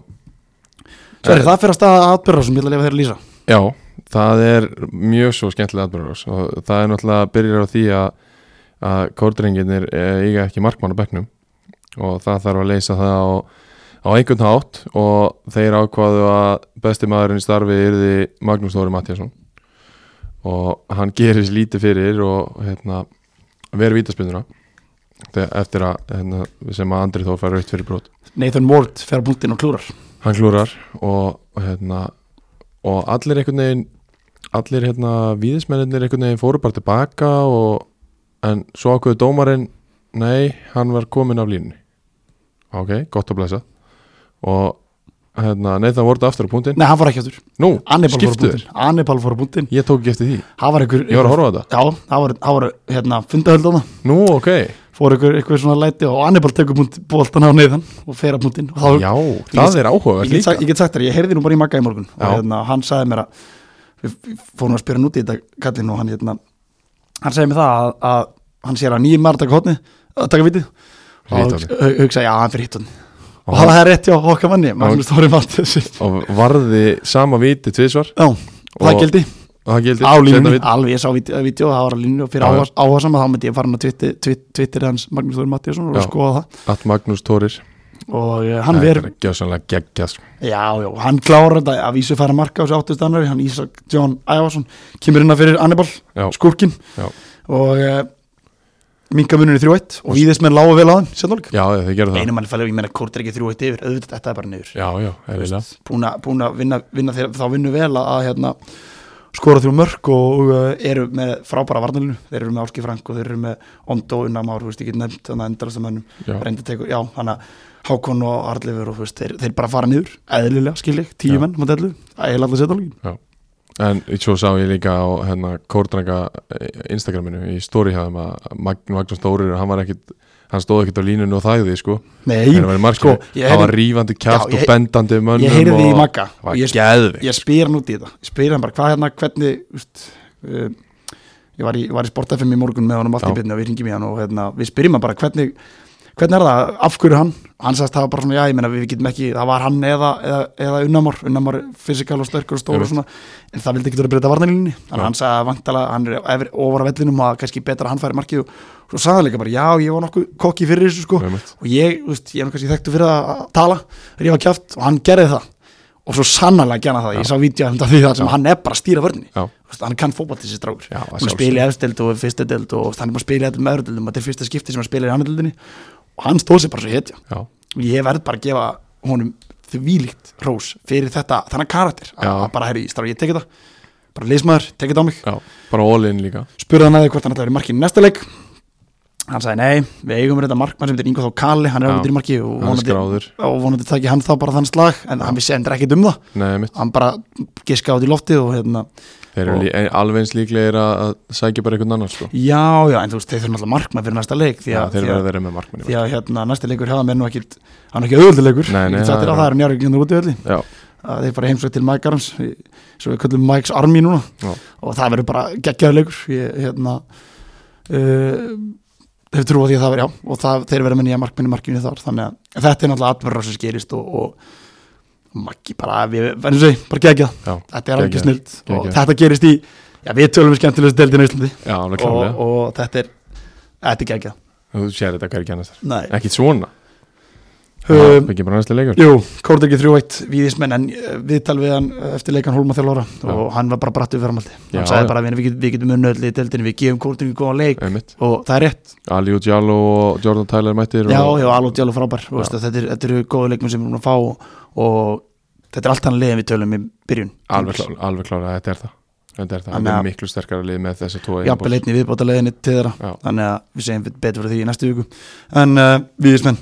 A: Sverri,
B: Eh,
A: það fyrir að staða atbyrra sem ég ætla að lefa þér að lýsa
B: Já, það er mjög svo skemmtilega atbyrður og það er náttúrulega byrjar á því að, að kórdrenginir eiga ekki markmann á bekknum og það þarf að leysa það á, á einhvern hátt og þeir ákvaðu að besti maðurinn í starfi yrði Magnús Þóri Mattiasson og hann gerir sér lítið fyrir og hérna, veri vítaspinnuna eftir að hérna, sem að Andri Þór fær raukt fyrir brot
A: Nathan Ward fer á punktin og klúrar
B: hann klúrar og, og hérna, og allir einhvern veginn allir hérna víðismennir einhvern veginn fóru bara tilbaka og, en svo ákveðu dómarinn nei, hann var komin af línunni ok, gott að blæsa og hérna, nei það voru aftur á punktin,
A: Nei, hann fór ekki aftur
B: nú,
A: Annibal fór á
B: skiptu
A: punktin Annibal fór á punktin
B: ég tók ekki eftir því,
A: Það var einhver
B: ég var að horfa á þetta
A: Já, það var, það var hérna fundahöld á það
B: nú, ok,
A: fór ykkur, ykkur svona læti og Annibal tekur punkt, boltan á neyðan og fer að punktinn og þá
B: Já,
A: Ég
B: það
A: get-
B: er áhugavert
A: ég get, sagt,
B: líka
A: ég get sagt þér, ég heyrði nú bara í Magga í morgun og
B: Já.
A: hérna, hann sagði mér að við við fórum að spyrja hann út í þetta kallinn og hann, hérna, hann sagði mér það að, að hann sér að nýjum maður taka hotni að taka vitið og þá
B: Hitt
A: hugsa-
B: hornið.
A: hu- hugsa, já, hann fyrir hittunni og
B: Og-
A: það er rétt hjá okkar manni, Magnús Þóri Valdes já,
B: Og varði sama viti tvisvar
A: það
B: Og-
A: gildi
B: Og það gildi
A: á
B: seinna
A: línunni,
B: vit-
A: alveg ég sá vídeo, vídeo það var á línunni og fyrir
B: Já, já.
A: áhuga- áhugasama þá myndi ég fara hann að twitti- twitt- twittir hans Magnús Þóri Mattiasson og
B: Já.
A: skoða það
B: At Magnús Tórir
A: og eh, hann verður
B: Gjössanlega geggjað sko.
A: Já, já, hann klárar þetta að vísu færa marka á þessu áttust annari, hann Ísak John Ævarsson kemur inn að fyrir Annibal,
B: Já.
A: skúrkin
B: Já.
A: og uh, minga muninu 3-1 og víðismenn lágu vel á þeim sérnálg.
B: Já, já, þið gerðu það
A: Einum mann fælega, ég meina, Kurt er ekki 3-1 yfir, auðvitað þetta er bara niður.
B: Já, já, eðlilega
A: Búin að- Búin að vinna, vinna þeir, þá vinnu vel að, að hérna, skora þrjú mörk og uh, eru með frábæra varnalinu, þeir eru með Álki Frank og þeir eru með Ondo Unnamár, þú veist ekki nefnt, þannig að endalast að mönnum
B: Já.
A: reyndi tekur, já, hann að Hákon og Arleifur og þú veist, þeir, þeir bara fara niður eðlilega, skilji, tíu
B: Já.
A: menn, maður dellu ægilega alltaf setja líkin,
B: En svo sá ég líka á hérna Kórdranga Instagraminu í story hæðum að Magn- Magnús Tórir, hann var ekkit hann stóð ekkit á línunni og þæði sko
A: nei,
B: Þegar hann var í markinu,
A: sko, ég
B: hann var
A: heyrði-
B: rífandi kjátt
A: Já,
B: og
A: ég-
B: bendandi mönnum
A: ég heyrði
B: og-
A: í Magga
B: Það var
A: og ég,
B: geðveikt.
A: ég spyr hann út í þetta ég spyr hann bara, hvað hérna, hvernig úst, uh, ég var í, var í Sport FM í morgun með honum allt í
B: Já.
A: byrni og við ringjum í hann og hérna, við spyrjum hann bara, hvernig hvernig er það, af hverju hann hann sagðist það var bara svona, já, ég meina, við getum ekki það var hann eða, eða, eða unnamor unnamor fysikal og sterkur og stór og
B: Einmitt.
A: svona en það vildi ekki vera að breyta varnarlínni þannig
B: Já.
A: að hann sagði að vantala, hann er efri- ofar á vellinum og að kannski betra að hann færi markið og svo sagði hann líka bara, já, ég var nokkuð kokki fyrir þessu sko
B: Einmitt.
A: og ég, þú veist, ég er nú kannski þekktu fyrir að að tala rífa kjátt og hann gerði það og svo sannarlega gerði hann það, ég sá vídeo af því það sem
B: Já.
A: hann er bara að stýra vörninni
B: Já,
A: Þú veist, hann kann fótball þessi strákur
B: Já, að
A: hann
B: sjálfsögðu.
A: spila í efstild og fyrstu dild og hann er bara að spila í eftir með öðru dildum og þetta er fyrsta skipti sem hann spila í annar dildinni og hann stóð sér bara svo hetja
B: já,
A: og ég verð bara að gefa honum þvílíkt rós fyrir þetta, þannig karakter
B: Já.
A: að að bara herri, strá, ég teki þetta bara leysmaður, teki þetta á mig
B: já Bara all-in líka
A: spurði hann að því hvort hann ætlaði að vera í markinu næsta leik hann sagði nei, við eigum þetta markmann sem þetta er Ingo þá Kali, hann er
B: Já.
A: auðvitað í marki og
B: Hann er
A: vonandi,
B: skráður
A: og vonandi taki hann þá bara þann slag en hann vissi endur ekkit um það
B: Nei, mitt
A: hann bara giska át í lofti og hérna
B: Þeir eru
A: Og-
B: lí- en alveg eins líklegir að að sækja bara einhvern annan sko
A: já, já, en þú veist, þeir þurfum alltaf markmann fyrir næsta leik því
B: Já,
A: að,
B: þeir
A: því
B: verða
A: að,
B: þeirra með markmanni
A: því að hérna, næsta leikur hefða mér nú ekkit hann er ekki auðvölduleikur,
B: Nei, nei,
A: ég get sagt þér
B: það er-
A: að það er njárvíkjöndur út í öllu
B: Já,
A: að þeir fara heimsveit til Mike Arms svo við köllum Mike's Army núna
B: Já.
A: og það verður bara geggjaðulegur ég hérna uh, hef trú á því að það verður já og það, þeir verður með nýja markminni markminni þar þannig að þetta er náttúrulega atverðar sem skerist og, og Maggi bara, við verðum segi, bara geggjað
B: já,
A: þetta er alveg
B: Geggjað,
A: snilt og
B: geggjað.
A: þetta gerist í já, við tölum við skemmtilegust deildin á Íslandi
B: já, alveg
A: og,
B: klálega
A: og þetta er þetta er geggjað
B: Þú sér þetta hvergi annars
A: Nei.
B: Ekki svona Það
A: Um,
B: er ekki bara næslega leikur
A: Jú, Kórd ekki 3-1 víðismenn en eh, viðtal við hann eh, eftir leikan Hólma þjálfóra og hann var bara brattu framhaldi hann
B: Já,
A: sagði
B: já.
A: bara við, við, getum, við getum unnöðli í deildinu við gefum Kórd ekki góðan leik
B: Einmitt
A: og það er rétt,
B: Ali og Diallo og Jordan Tyler mættir
A: já,
B: og,
A: já, alveg djálu frábær Þú veist að þetta, er, þetta eru góðu leikmenn sem við erum að fá og, og þetta er allt hann leiðin við tölum í byrjun
B: alveg, klár, alveg klára, þetta er það þetta er það,
A: Þannig
B: þetta
A: að-
B: er miklu sterkara lið með þessi tóa
A: jafnvel einni viðbóta leiðinni til þeirra
B: Já.
A: þannig að við segjum betur fyrir því í næstu viku en uh, viðismenn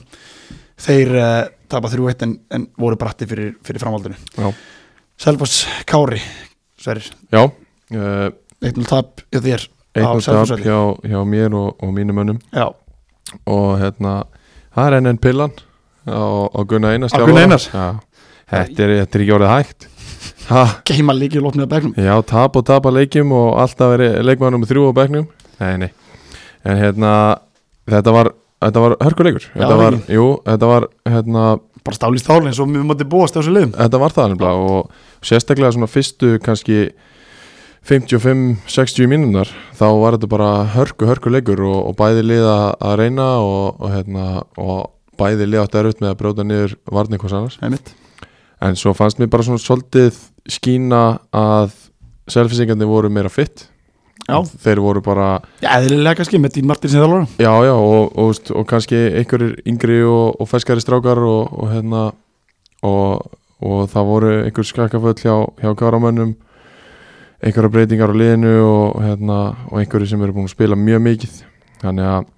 A: þeir uh, tapa 3-1 en, en voru bratti fyrir, fyrir framhaldinu
B: Já.
A: Selfoss Kári Sverir,
B: já, uh,
A: 1-0 tap hjá þér
B: einn og tap
A: Selfosselli.
B: hjá, hjá mér og, og mínum mönnum
A: Já,
B: og hérna, það er enn enn pillan á, á Gunnar Einars
A: Á Gunnar
B: þjálfara.
A: Einars?
B: já, þetta er, þetta er ekki orðið hægt ha,
A: geima líki og lopnið að begnum
B: já, tap og tapa leikjum og alltaf er leikmannum þrjú á bekknum nei, nei, en hérna þetta var, þetta var hörkuleikur
A: Já,
B: þetta var,
A: ekki.
B: jú, þetta var hérna,
A: bara stáli stáli eins og við mátti búast á þessu liðum
B: þetta var það nefnilega og sérstaklega svona fyrstu kannski 55-60 mínúnar þá var þetta bara hörku, hörku leikur og, og bæði lið að að reyna og, og, hérna, og bæði lið átti erfitt með að brjóta niður varni hvers annars
A: Einmitt.
B: en svo fannst mér bara svona svolítið skína að selfisingarnir voru meira fitt
A: Já.
B: þeir voru bara
A: Já, eðlilega kannski með Dín Martins í þjálfara
B: já já og, og, veist, og kannski einhverjir yngri og, og feskari strákar og, og hérna og, og það voru einhver skakkaföll hjá, hjá gáramönnum einhverja breytingar á liðinu og, hérna, og einhverju sem eru búin að spila mjög mikið þannig að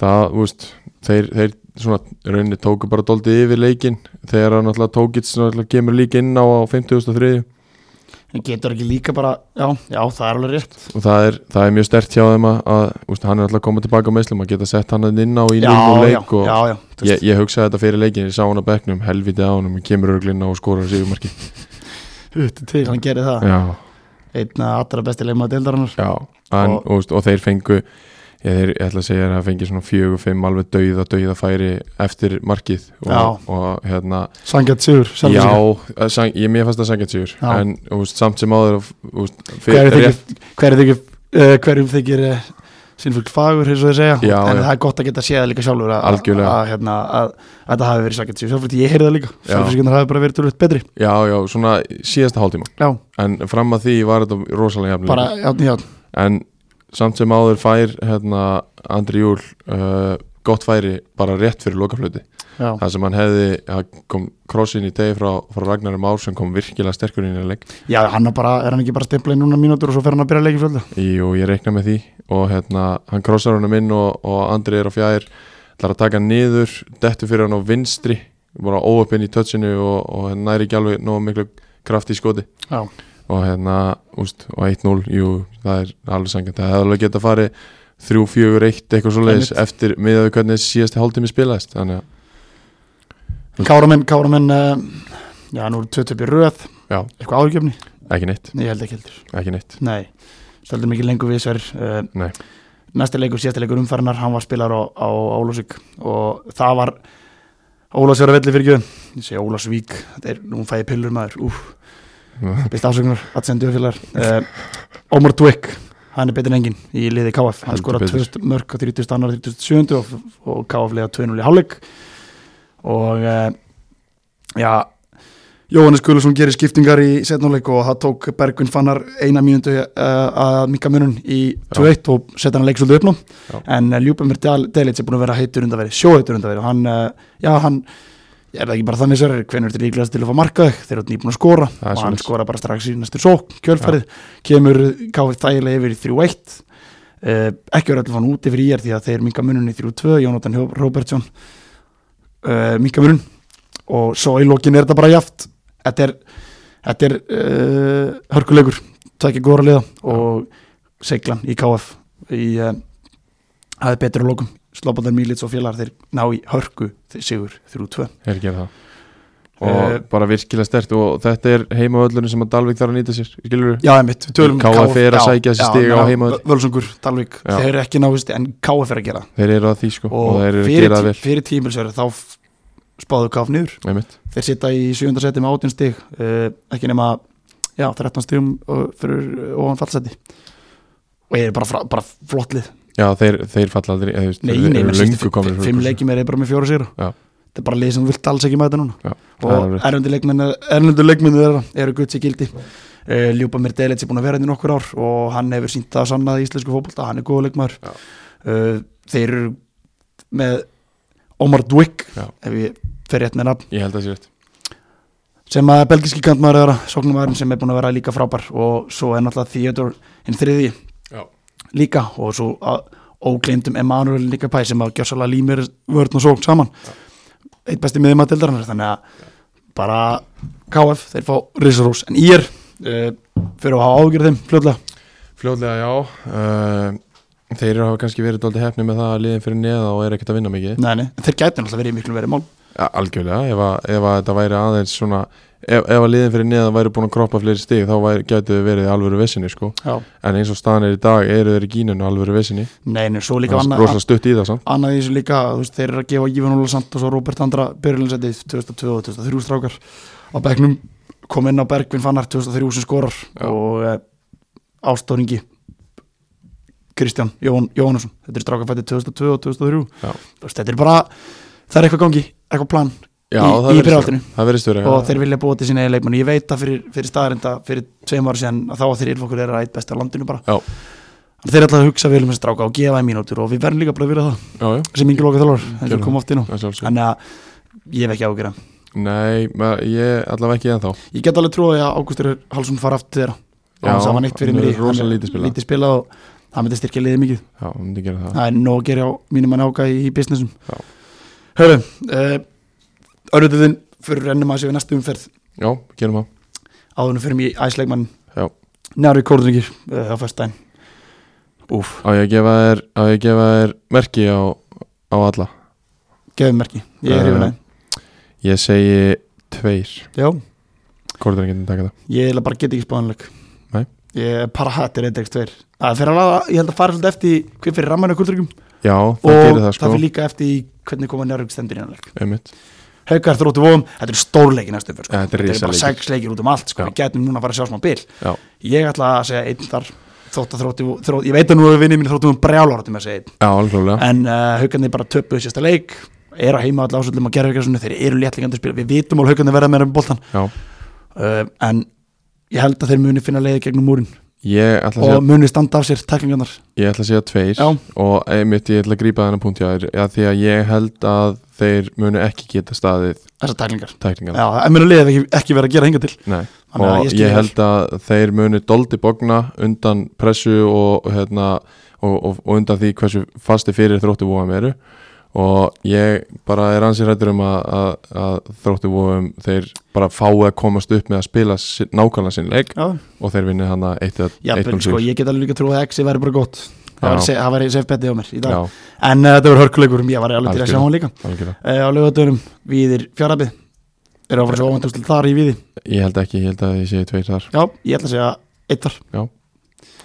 B: það, þú veist, þeir, þeir svona rauninni tóku bara doldið yfir leikin þegar að náttúrulega Tókits náttúrulega kemur líka inn á á 53
A: Já, en getur ekki líka bara, já, já það er alveg rétt
B: og það er, það er mjög stert hjá þeim að, að úst, hann er alltaf að koma tilbaka á meðslum að geta sett hann þarna inn á í
A: já,
B: línu
A: já,
B: leik og
A: já, já, þú
B: ég,
A: veist,
B: ég hugsaði þetta fyrir leikin, ég sá hann á bekknum helviti á hann, kemur örglina og skorar sigumarki
A: hutti til hann gerir það
B: já,
A: einn af allra besti leikmaður deildarinnar
B: já en,
A: Og-
B: og, úst, og þeir fengu ég, þeir, ég ætla að segja að það fengi svona fjögur, fimm alveg dauða, dauða færi eftir markið og,
A: Já.
B: og hérna
A: Sangjart Sigur, sjálfur sig.
B: Já, eh, sang, ég mér fannst það sangjart sigur
A: Já.
B: en úst, samt sem áður úst,
A: Hver
B: fyrir,
A: er
B: rétt,
A: þykir, hver er þykir, uh, hverjum þykir uh, sinnfugl fagur, eins og þeir segja
B: Já,
A: en
B: já.
A: það er gott að geta séð það líka sjálfur að, að,
B: Algjörlega.
A: að, hérna, að, að þetta hafi verið sangjart Sigur sjálfur, því ég heyrði það líka
B: Já.
A: sjálfur sigur hafi bara verið tölvöld betri
B: já, já, svona síðasta hálftíma
A: já,
B: en fram að því var þetta rosalega jafnlega
A: bara, já, já,
B: en samt sem áður fær hérna, Andri Júl uh, gott færi bara rétt fyrir lokaflöti
A: já.
B: það sem hann hefði, hann kom krossin í tegi frá, frá Ragnar Már sem kom virkilega sterkur inn í leik
A: já hann er, bara, er hann ekki bara stemplað í núna mínútur og svo fer hann að byrja að leikja fjölda
B: Í- og ég reikna með því og hérna, hann krossar honum inn og, og Andri er á fjær ætlar að taka hann niður, dettu fyrir hann á vinstri bara óöpinn í touchinu og, og hann næri ekki alveg nógu miklu kraft í skoti
A: já,
B: og hérna, úst, og 1-0 jú, það er alveg sangjant það hefði alveg geta farið 3-4-1 eitthvað svo leiðis
A: Einmitt.
B: eftir miðað við hvernig síðasti hálftími spilaðist þannig að,
A: Káramenn, Káramenn uh, já, nú eru tvö töpi röð
B: já,
A: eitthvað áhugjefni,
B: ekki neitt,
A: ég held ekki heldur
B: ekki neitt
A: nei, stöldum ekki lengur við sver uh,
B: Nei.
A: næsti leikur, síðasti leikur umferðinar hann var spilar á, á Ólásvík og það var Ólásvík velli fyrir gjöðum, ég segi Ólásvík þetta er, nú fæði pillur maður, úf byrst afsökunar, aðsendu öfélagar uh, Ómar Dweck hann er betur en engin í liði KF hann
B: Heldur
A: skorar
B: betur.
A: 2000 mörg á 30. annar 37. og, og KF liða 2-0 í hálfleik og uh, já Jóhannes Guðlusson gerir skiptingar í setnuleik og það tók Bergvin Fannar eina mínundu uh, að minka munun í 2-1 og setja hann leik svolítið uppnum
B: Já.
A: en uh, Ljúbemir Delitz er búin að vera heitur undaveri, sjóheitur undaveri og hann, uh, já hann er það ekki bara þannig sér, hvernig er þetta líklegast til að fá markaði þeir eru nýbúin að skora
B: Það er
A: og hann
B: svoleiðis.
A: skora bara strax í næstu sók kjölfærið, kemur KF þægilega yfir í 3-1 uh, ekki verið allir fann úti fyrir ég því að þeir minka munun í 3-2, Jónatan Hjó- Robertsson uh, minka munun og svo í lokin er þetta bara jaft þetta er, þetta er uh, hörkuleikur, tækja góra liða og seglan í KF í uh, aðeins betur á lokum Slobodan Milic og félagar þeir ná í hörku þeir sigur 3-2
B: er ekki það og
A: Eh,
B: bara virkilega stert og þetta er heimavöllurinn sem að Dalvik þarf að nýta sér skilur við?
A: Já, einmitt, við tölum um
B: KF er að
A: já,
B: sækja sér
A: já,
B: stig á
A: meina,
B: heimavelli.
A: Vö- Völsungur, Dalvík,
B: Já.
A: þeir eru ekki náðist en KF er að gera
B: þeir eru að því sko og, þeir eru að
A: fyrir,
B: gera það
A: tí-
B: vel
A: fyrir tímilsverð þá f- spáðu KF niður
B: Einmitt.
A: þeir sita í sjönda seti með 18 stig uh, ekki nema já, 13 stigum uh, fyrir uh, ofan fallseti og ég er bara, frá- bara flott lið
B: já þeir, þeir falla aldrei eða, þú veist,
A: nei,
B: þeir
A: nei,
B: eru
A: menn
B: löngu
A: síðustu
B: komnir
A: fi-
B: frá
A: fimm
B: þessu.
A: leikjum er ég bara með fjóra sigra
B: Já.
A: þetta er bara lið sem þú vilt alls ekki mæta núna
B: Já, það er
A: og
B: alveg rétt.
A: erlendu leikmenn erlendu leikmenn þeirra eru gutsi gildi uh, Ljúpa mér Delitz er búin að vera hérna í nokkur ár og hann hefur sínt það að sannað í íslensku fótbolta hann er góða leikmaður
B: Já.
A: uh, þeir eru með Omar Dwick
B: Já.
A: ef ég fer rétt með nafn
B: ég held að það sé rétt
A: sem að belgiski kantmaður þeirra sóknumæðurinn sem er búin að vera líka frábær og svo er náttúrulega Theodore hinn þriði
B: Já.
A: líka og svo að ógleymdum Emanuel líka pæ sem að gjössalega límir vörðn og sókn saman eitt besti miðjum að dildarinnar þannig að bara KF þeir fá risarós en ír uh, fyrir að hafa ágjörð þeim fljóðlega
B: fljóðlega já uh, þeir eru að hafa kannski verið dóldi hefni með það að liðin fyrir neða og er ekkert að vinna mikið
A: nei, nei, þeir gæti náttúrulega verið í miklu verið mál
B: Ja, algjörlega, ef að, ef að þetta væri aðeins svona, ef, ef að liðin fyrir neðan væri búin að kroppa fleiri stig þá væri, gætu þau verið í alvöru vesinni sko
A: Já.
B: en eins og staðan er í dag eru þeir í gínunni alvöru vesinni
A: nei, nei, svo líka annað
B: rosa stutt í það samt
A: annað í þessu líka, þú veist, þeir eru að gefa Ívan Óla Santos og Róbert Andra byrjulinsætið 2002 og 2003 strákar á bekknum, kom inn á Bergvin Fannar 2003 sem skorar
B: Já.
A: og e, ástóringi Kristján Jón, Jónasson þetta er strákarfættið 2002 og 2003
B: Já.
A: Þú veist, þetta er bara, það er eitthvað gangi eitthvað plan
B: Já,
A: í,
B: það
A: í
B: virðist
A: byrjaldinu
B: vera- það verðist verið
A: og þeir vilja búa til sína eigin leikmann ég veit það fyrir, fyrir staðarinda fyrir tveim ára síðan að þá að þeir ylfokkur er að eitt besta á landinu bara
B: Já.
A: Þannig þeir ætla að hugsa vel um þessi stráka og gefa þeim mínútur og við verðum líka bara að vilja það
B: já, já,
A: sem yngi loka þjálfur eins og
B: Gerðu
A: kom oft inn á
B: að sjálfsögðu.
A: þannig að ég hef ekki ágjörða
B: Nei, ma- ég allavega ekki ennþá
A: ég get alveg trúið að Ágústur Hallsson fara aftur þeirra og
B: Já,
A: hann sagði hann eitt fyrir
B: hann
A: mér í
B: er rosalega lítið spilað.
A: lítið spila og það myndi styrkja liðið mikið
B: Já, hún myndi gera það
A: það er nóg að gera á mínum mann áka í, í businessum eh,
B: Já.
A: Hörru, uh, örðuðin fyrir rennum að séu næstu umferð
B: Já, gerum það
A: áðunum fyrir mig æsleikmann
B: Já.
A: næri kóruðingir uh, á fyrstæn Úf,
B: Á ég að gefa þér, á ég að gefa þér merki á, á alla
A: gefum merki, ég er
B: Já.
A: yfir næ
B: Ég segi tveir
A: Já,
B: Kordur getur taka það
A: ég eiginlega bara get ekki spáðanleik
B: Nei.
A: Ég er bara hættir eitthvað tveir Það fyrir alveg, að- ég held að fara svolítið eftir í hver fyrir rammann og kóruðingum
B: Já, það
A: og
B: gerir það sko
A: fyrir líka eftir í hvernig koma Njárvík stendur í hann leik
B: Einmitt.
A: Haukar þróttu vóðum, þetta eru stórleiki næstu fyrir sko.
B: Ja, þetta er
A: bara
B: risaleikir.
A: sex leikir út um allt sko.
B: Já.
A: Við getum núna að fara að sjá smá bil
B: Já,
A: Ég ætla að segja einn þar þrótt að þróttu, þróttu Ég veit að nú hefur vinnið mín þróttu um brjáláratum að segja einn
B: já alveg klálega
A: En uh, haukarnir bara töpuðu sérsta leik Er að heima allar ásöldum að gera haukarsunni Þeir eru léttlingandi spil Við vitum alveg haukarnir verða meira með boltan
B: Já,
A: uh, En ég held að þeir muni finna leiði gegnum múrin
B: ég ætla að
A: Og
B: segja,
A: muni standa af sér teklingarnar
B: ég ætla að segja tveir
A: Já.
B: Og einmitt ég ætla að grípa þennan punkt hjá þér Já, því að ég held að þeir munu ekki geta staðið
A: Þessar teklingar
B: tækningar
A: Já, en muni leiði ekki, ekki vera að gera hinga til
B: Nei,
A: Þannig að
B: og
A: ég
B: ég,
A: skil vel.
B: held að þeir munu doldi bogna undan pressu og, hérna, og, og, og undan því hversu fasti fyrir þróttu vóðum eru og ég bara er ansið rættur um að, að, að þróttu vóðum þeir bara fái að komast upp með að spila sin, nákvæmlega sinn leik
A: Já,
B: og þeir vinni hana eitt eða
A: Já,
B: eitt
A: ben,
B: núll
A: sko,
B: sigur.
A: ég get alveg líka trúið að Exi væri bara gott
B: um Já.
A: Það væri se- það væri sef betið á mér í dag
B: Já,
A: En uh, þetta verður hörkuleikur, ég var alveg til að sjá
B: Algjörlega.
A: hann líka
B: algjörlega.
A: uh, Á lögatunum, Víðir fjárabið Eru að fara svo óvænt úrslit þar í Víði
B: ég held ekki, ég held að ég segi tveir þar
A: Já, ég ætla að segja eitt þar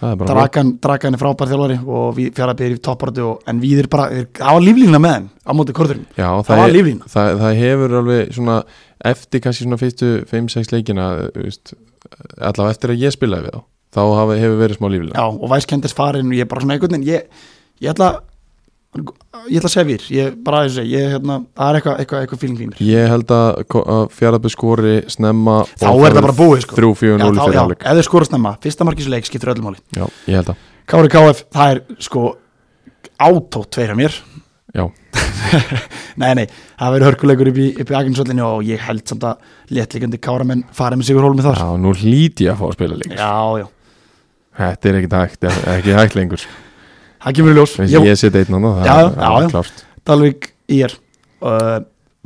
B: það er bara
A: Dragan, Dragan er frábær þjálfari og við, fjárabið er í topparötu og, En Víðir bara, þeir- það var líflína með henn á móti korðurinn
B: Já, það,
A: Það var
B: er-
A: líflína.
B: það, það hefur alveg svona eftir kannski svona fyrstu 5-6 leikina eh, þú veist, allavega eftir að ég spilaði við þá þá hafa- hefur verið smá líflína
A: Já, og væskendis farin og ég bara svona einhvern veginn Ég, ég ætla Ég ætla að segja Víðir, ég bara þess að ég, hérna, það er eitthvað, eitthvað, eitthvað feeling í mér
B: Ég held að, ko- að fjaraðbyrð skori snemma
A: Þá er það bara búið, sko.
B: 3-4-0
A: Já, þá-
B: fyrir
A: já,
B: áleik
A: ef þau skora snemma, fyrsta markisleik skiptir öllum máli
B: Já, ég held að
A: Kári KF, það er sko átó tveir af mér
B: Já,
A: Nei, nei, það verður hörkuleikur upp í, upp í Akinsollinni og ég held samt að léttlíkandi Káramenn farið með Sigur Hólmi þar
B: já nú hlýti ég að fá að spila leik
A: Já, já,
B: Þetta er ekkit hægt, er- ekki hægt lengur
A: það kemur í ljós
B: Ég,
A: Ég,
B: ég seti einn annað,
A: Já,
B: það er-
A: já,
B: það
A: já.
B: er klárt
A: Dalvik í er uh,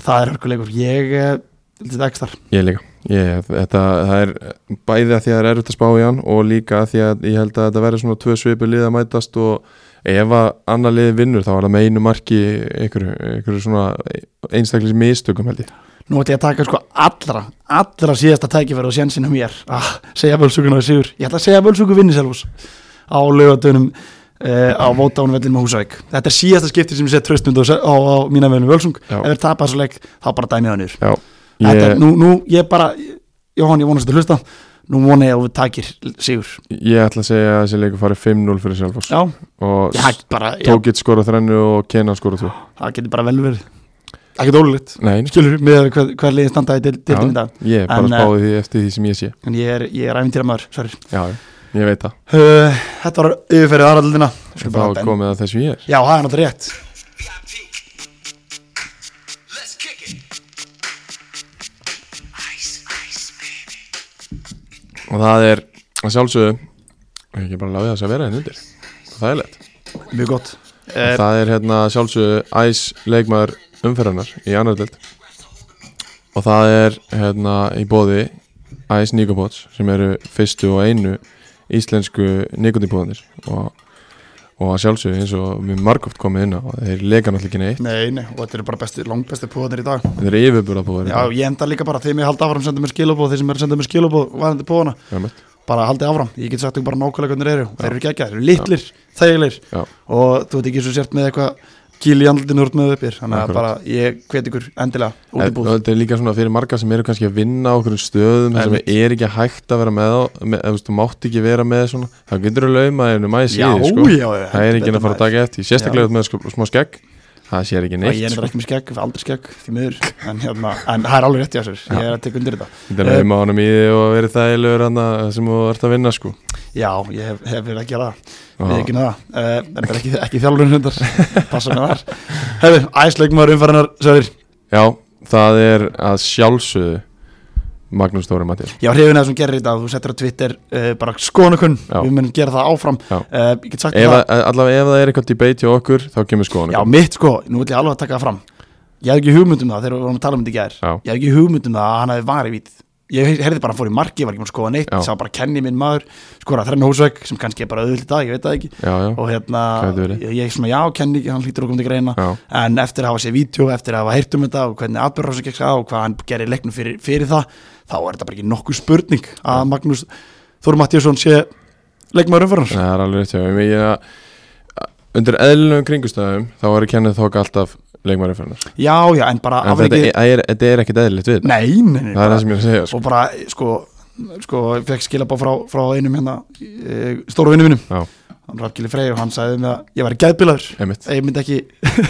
A: Það er hörkuleikur, ég eh, held þetta ekki þar
B: Ég líka ég, þetta, Það er bæði að því að það er erfitt að spá í hann og líka að því að ég held að þetta verður svona tvö svipu lið að mætast og ef að annar lið vinnur þá er það með einu marki einhverju, einhverju svona einstaklis mistökum held ég
A: Nú ætti ég að taka sko allra, allra síðasta tækifæri og sjansinu mér ah, segja völsugun á Sigur, ég ætla að segja völsugu vinni selvús á lögatunum Uh, á Vótánvellin með Húsavík Þetta er síðasta skipti sem ég set tröstund á, á, á mína veginu Völsung
B: Já.
A: ef þeir tapa þessu leik, þá bara dæmi það niður
B: Já,
A: Þetta er,
B: ég,
A: nú, nú, ég bara Jóhann, ég vonast að hlusta Nú vona ég að þú takir sigur
B: ég ætla að segja að þessi leikur farið 5-0 fyrir Selfoss
A: Já,
B: og
A: ég hætt bara já,
B: Tókitt skora þrennu og Kenan skora þú
A: Það getur bara vel verið Ekkert ólulegt
B: Nei,
A: Skilur, með hver, hver liðin standaði til, til
B: Já.
A: þetta
B: ég er bara
A: um En, eh,
B: að spáði því eftir því sem ég sé
A: En ég er, ég er æfintýra maður, sorry
B: Já, já, ég veit það
A: uh, Þetta var yfirferðið aðraldina Já,
B: Þá er komið að þessu ég er
A: það er náttúrulega rétt
C: Let's kick it. Ice, ice, baby.
B: og það er að sjálfsögðu ekki bara láfið þess að vera henni undir það er lett
A: Mjög gott
B: og það er hérna að sjálfsögðu æs leikmaður umferðarnar í annar dild og það er hérna í bóði æs nikopods sem eru fyrstu og einu íslensku nikotipóðanir og, og að sjálfsögðu eins og við margóft komið inn á þeir leika náttúrulega ekki neitt
A: Nei, nei, og þetta eru bara bestu, langbestu púðanir í dag
B: þeir eru yfirbúrapóðar
A: Já, ég enda líka bara þeim ég haldi áfram að senda mér skilabóð Þeir sem er að senda mér skilabóð, varandi púðana bara haldið áfram, ég get sagt ekki bara nákvæmlega hvernig þeir eru, þeir eru ekki þeir eru litlir, þægilegir
B: Já.
A: og þú veit ekki svo sért með eitthvað gíl í andlutinu úr með uppir, þannig að
B: Akkurat.
A: bara ég hvet ykkur endilega út í
B: En- og
A: búð
B: þetta er líka svona fyrir marga sem eru kannski að vinna á okkur stöðum þar sem
A: Einmitt.
B: er ekki hægt að vera með, á- með eða, þú veist, þú mátt ekki vera með svona þá getur þú lauma einu maður síði
A: Já,
B: sko.
A: já, já,
B: það er
A: heldur
B: ekki að
A: betur,
B: fara að taka eftir sérstaklega með sko, smá skegg það sér
A: og
B: ekki
A: ég
B: neitt
A: er
B: sko.
A: bara ekki með skegg, aldrei skegg því miður, en, hérna, en það er alveg rétt í þessar ég er að tekja undir þetta
B: þetta er að heima honum í því og verið þægilegur hann sem þú ert að vinna sko.
A: já, ég hef, hef verið að gera það
B: Já.
A: við ekki það, uh, en bara ekki, ekki þjálfurinn hundar, passa með þar hefur, æsleikmaður umfærinar, Söður
B: já, það er að sjálfsögðu Magnús Dóri Mattías
A: ég var hrifin að þessum gerir þetta, þú settir á Twitter uh, bara skoðanakun,
B: Já.
A: við munum gera það áfram
B: Já.
A: uh, ég get sagt
B: ef,
A: það
B: að- allavega ef það er eitthvað debate hjá okkur þá kemur skoðan
A: Já, mitt sko, nú ætlum ég alveg að taka það fram Ég hef ekki hugmynd um það þegar við vorum að tala um þetta í gær
B: Já.
A: Ég hef ekki hugmynd um það að hann hefði varið vítið ég heyrði bara að hann fór í marki, ég var ekki múin að skoða neitt
B: Já.
A: sá bara Kenny minn maður, skora þrennu húsvegg sem kannski er bara auðvitað í dag, ég veit það ekki
B: Já, já.
A: og hérna,
B: Gæti verið.
A: ég, ég svona já, Kenny, hann hlýtur okkur til greina
B: Já.
A: en eftir að hafa séð vídeo, eftir að hafa heyrt um þetta og hvernig atbyrðrása gekk það og hvað hann gerir leiknum fyrir, fyrir það, þá er þetta bara ekki nokkuð spurning að Magnús Þór Mattíasson sé leikmaður umfyrir
B: Það er alveg rétt hjá mér. Ég meina, Undir eðlunum kringustöðum þá er Kenneth Hawk alltaf leikmæri fyrir hennar
A: já, já, en bara
B: En þetta
A: afreikið-
B: er, er, þetta er ekkit eðlitt við
A: Nei, nei, nei,
B: Það er það sem ég er að segja sko.
A: og bara sko, sko ég fekk skilabá frá, frá einum hérna e, stóru vinnu mínum,
B: Já,
A: hann Rafgili Freyr og hann sagði með að ég væri gæðbilaður
B: einmitt,
A: ég myndi ekki,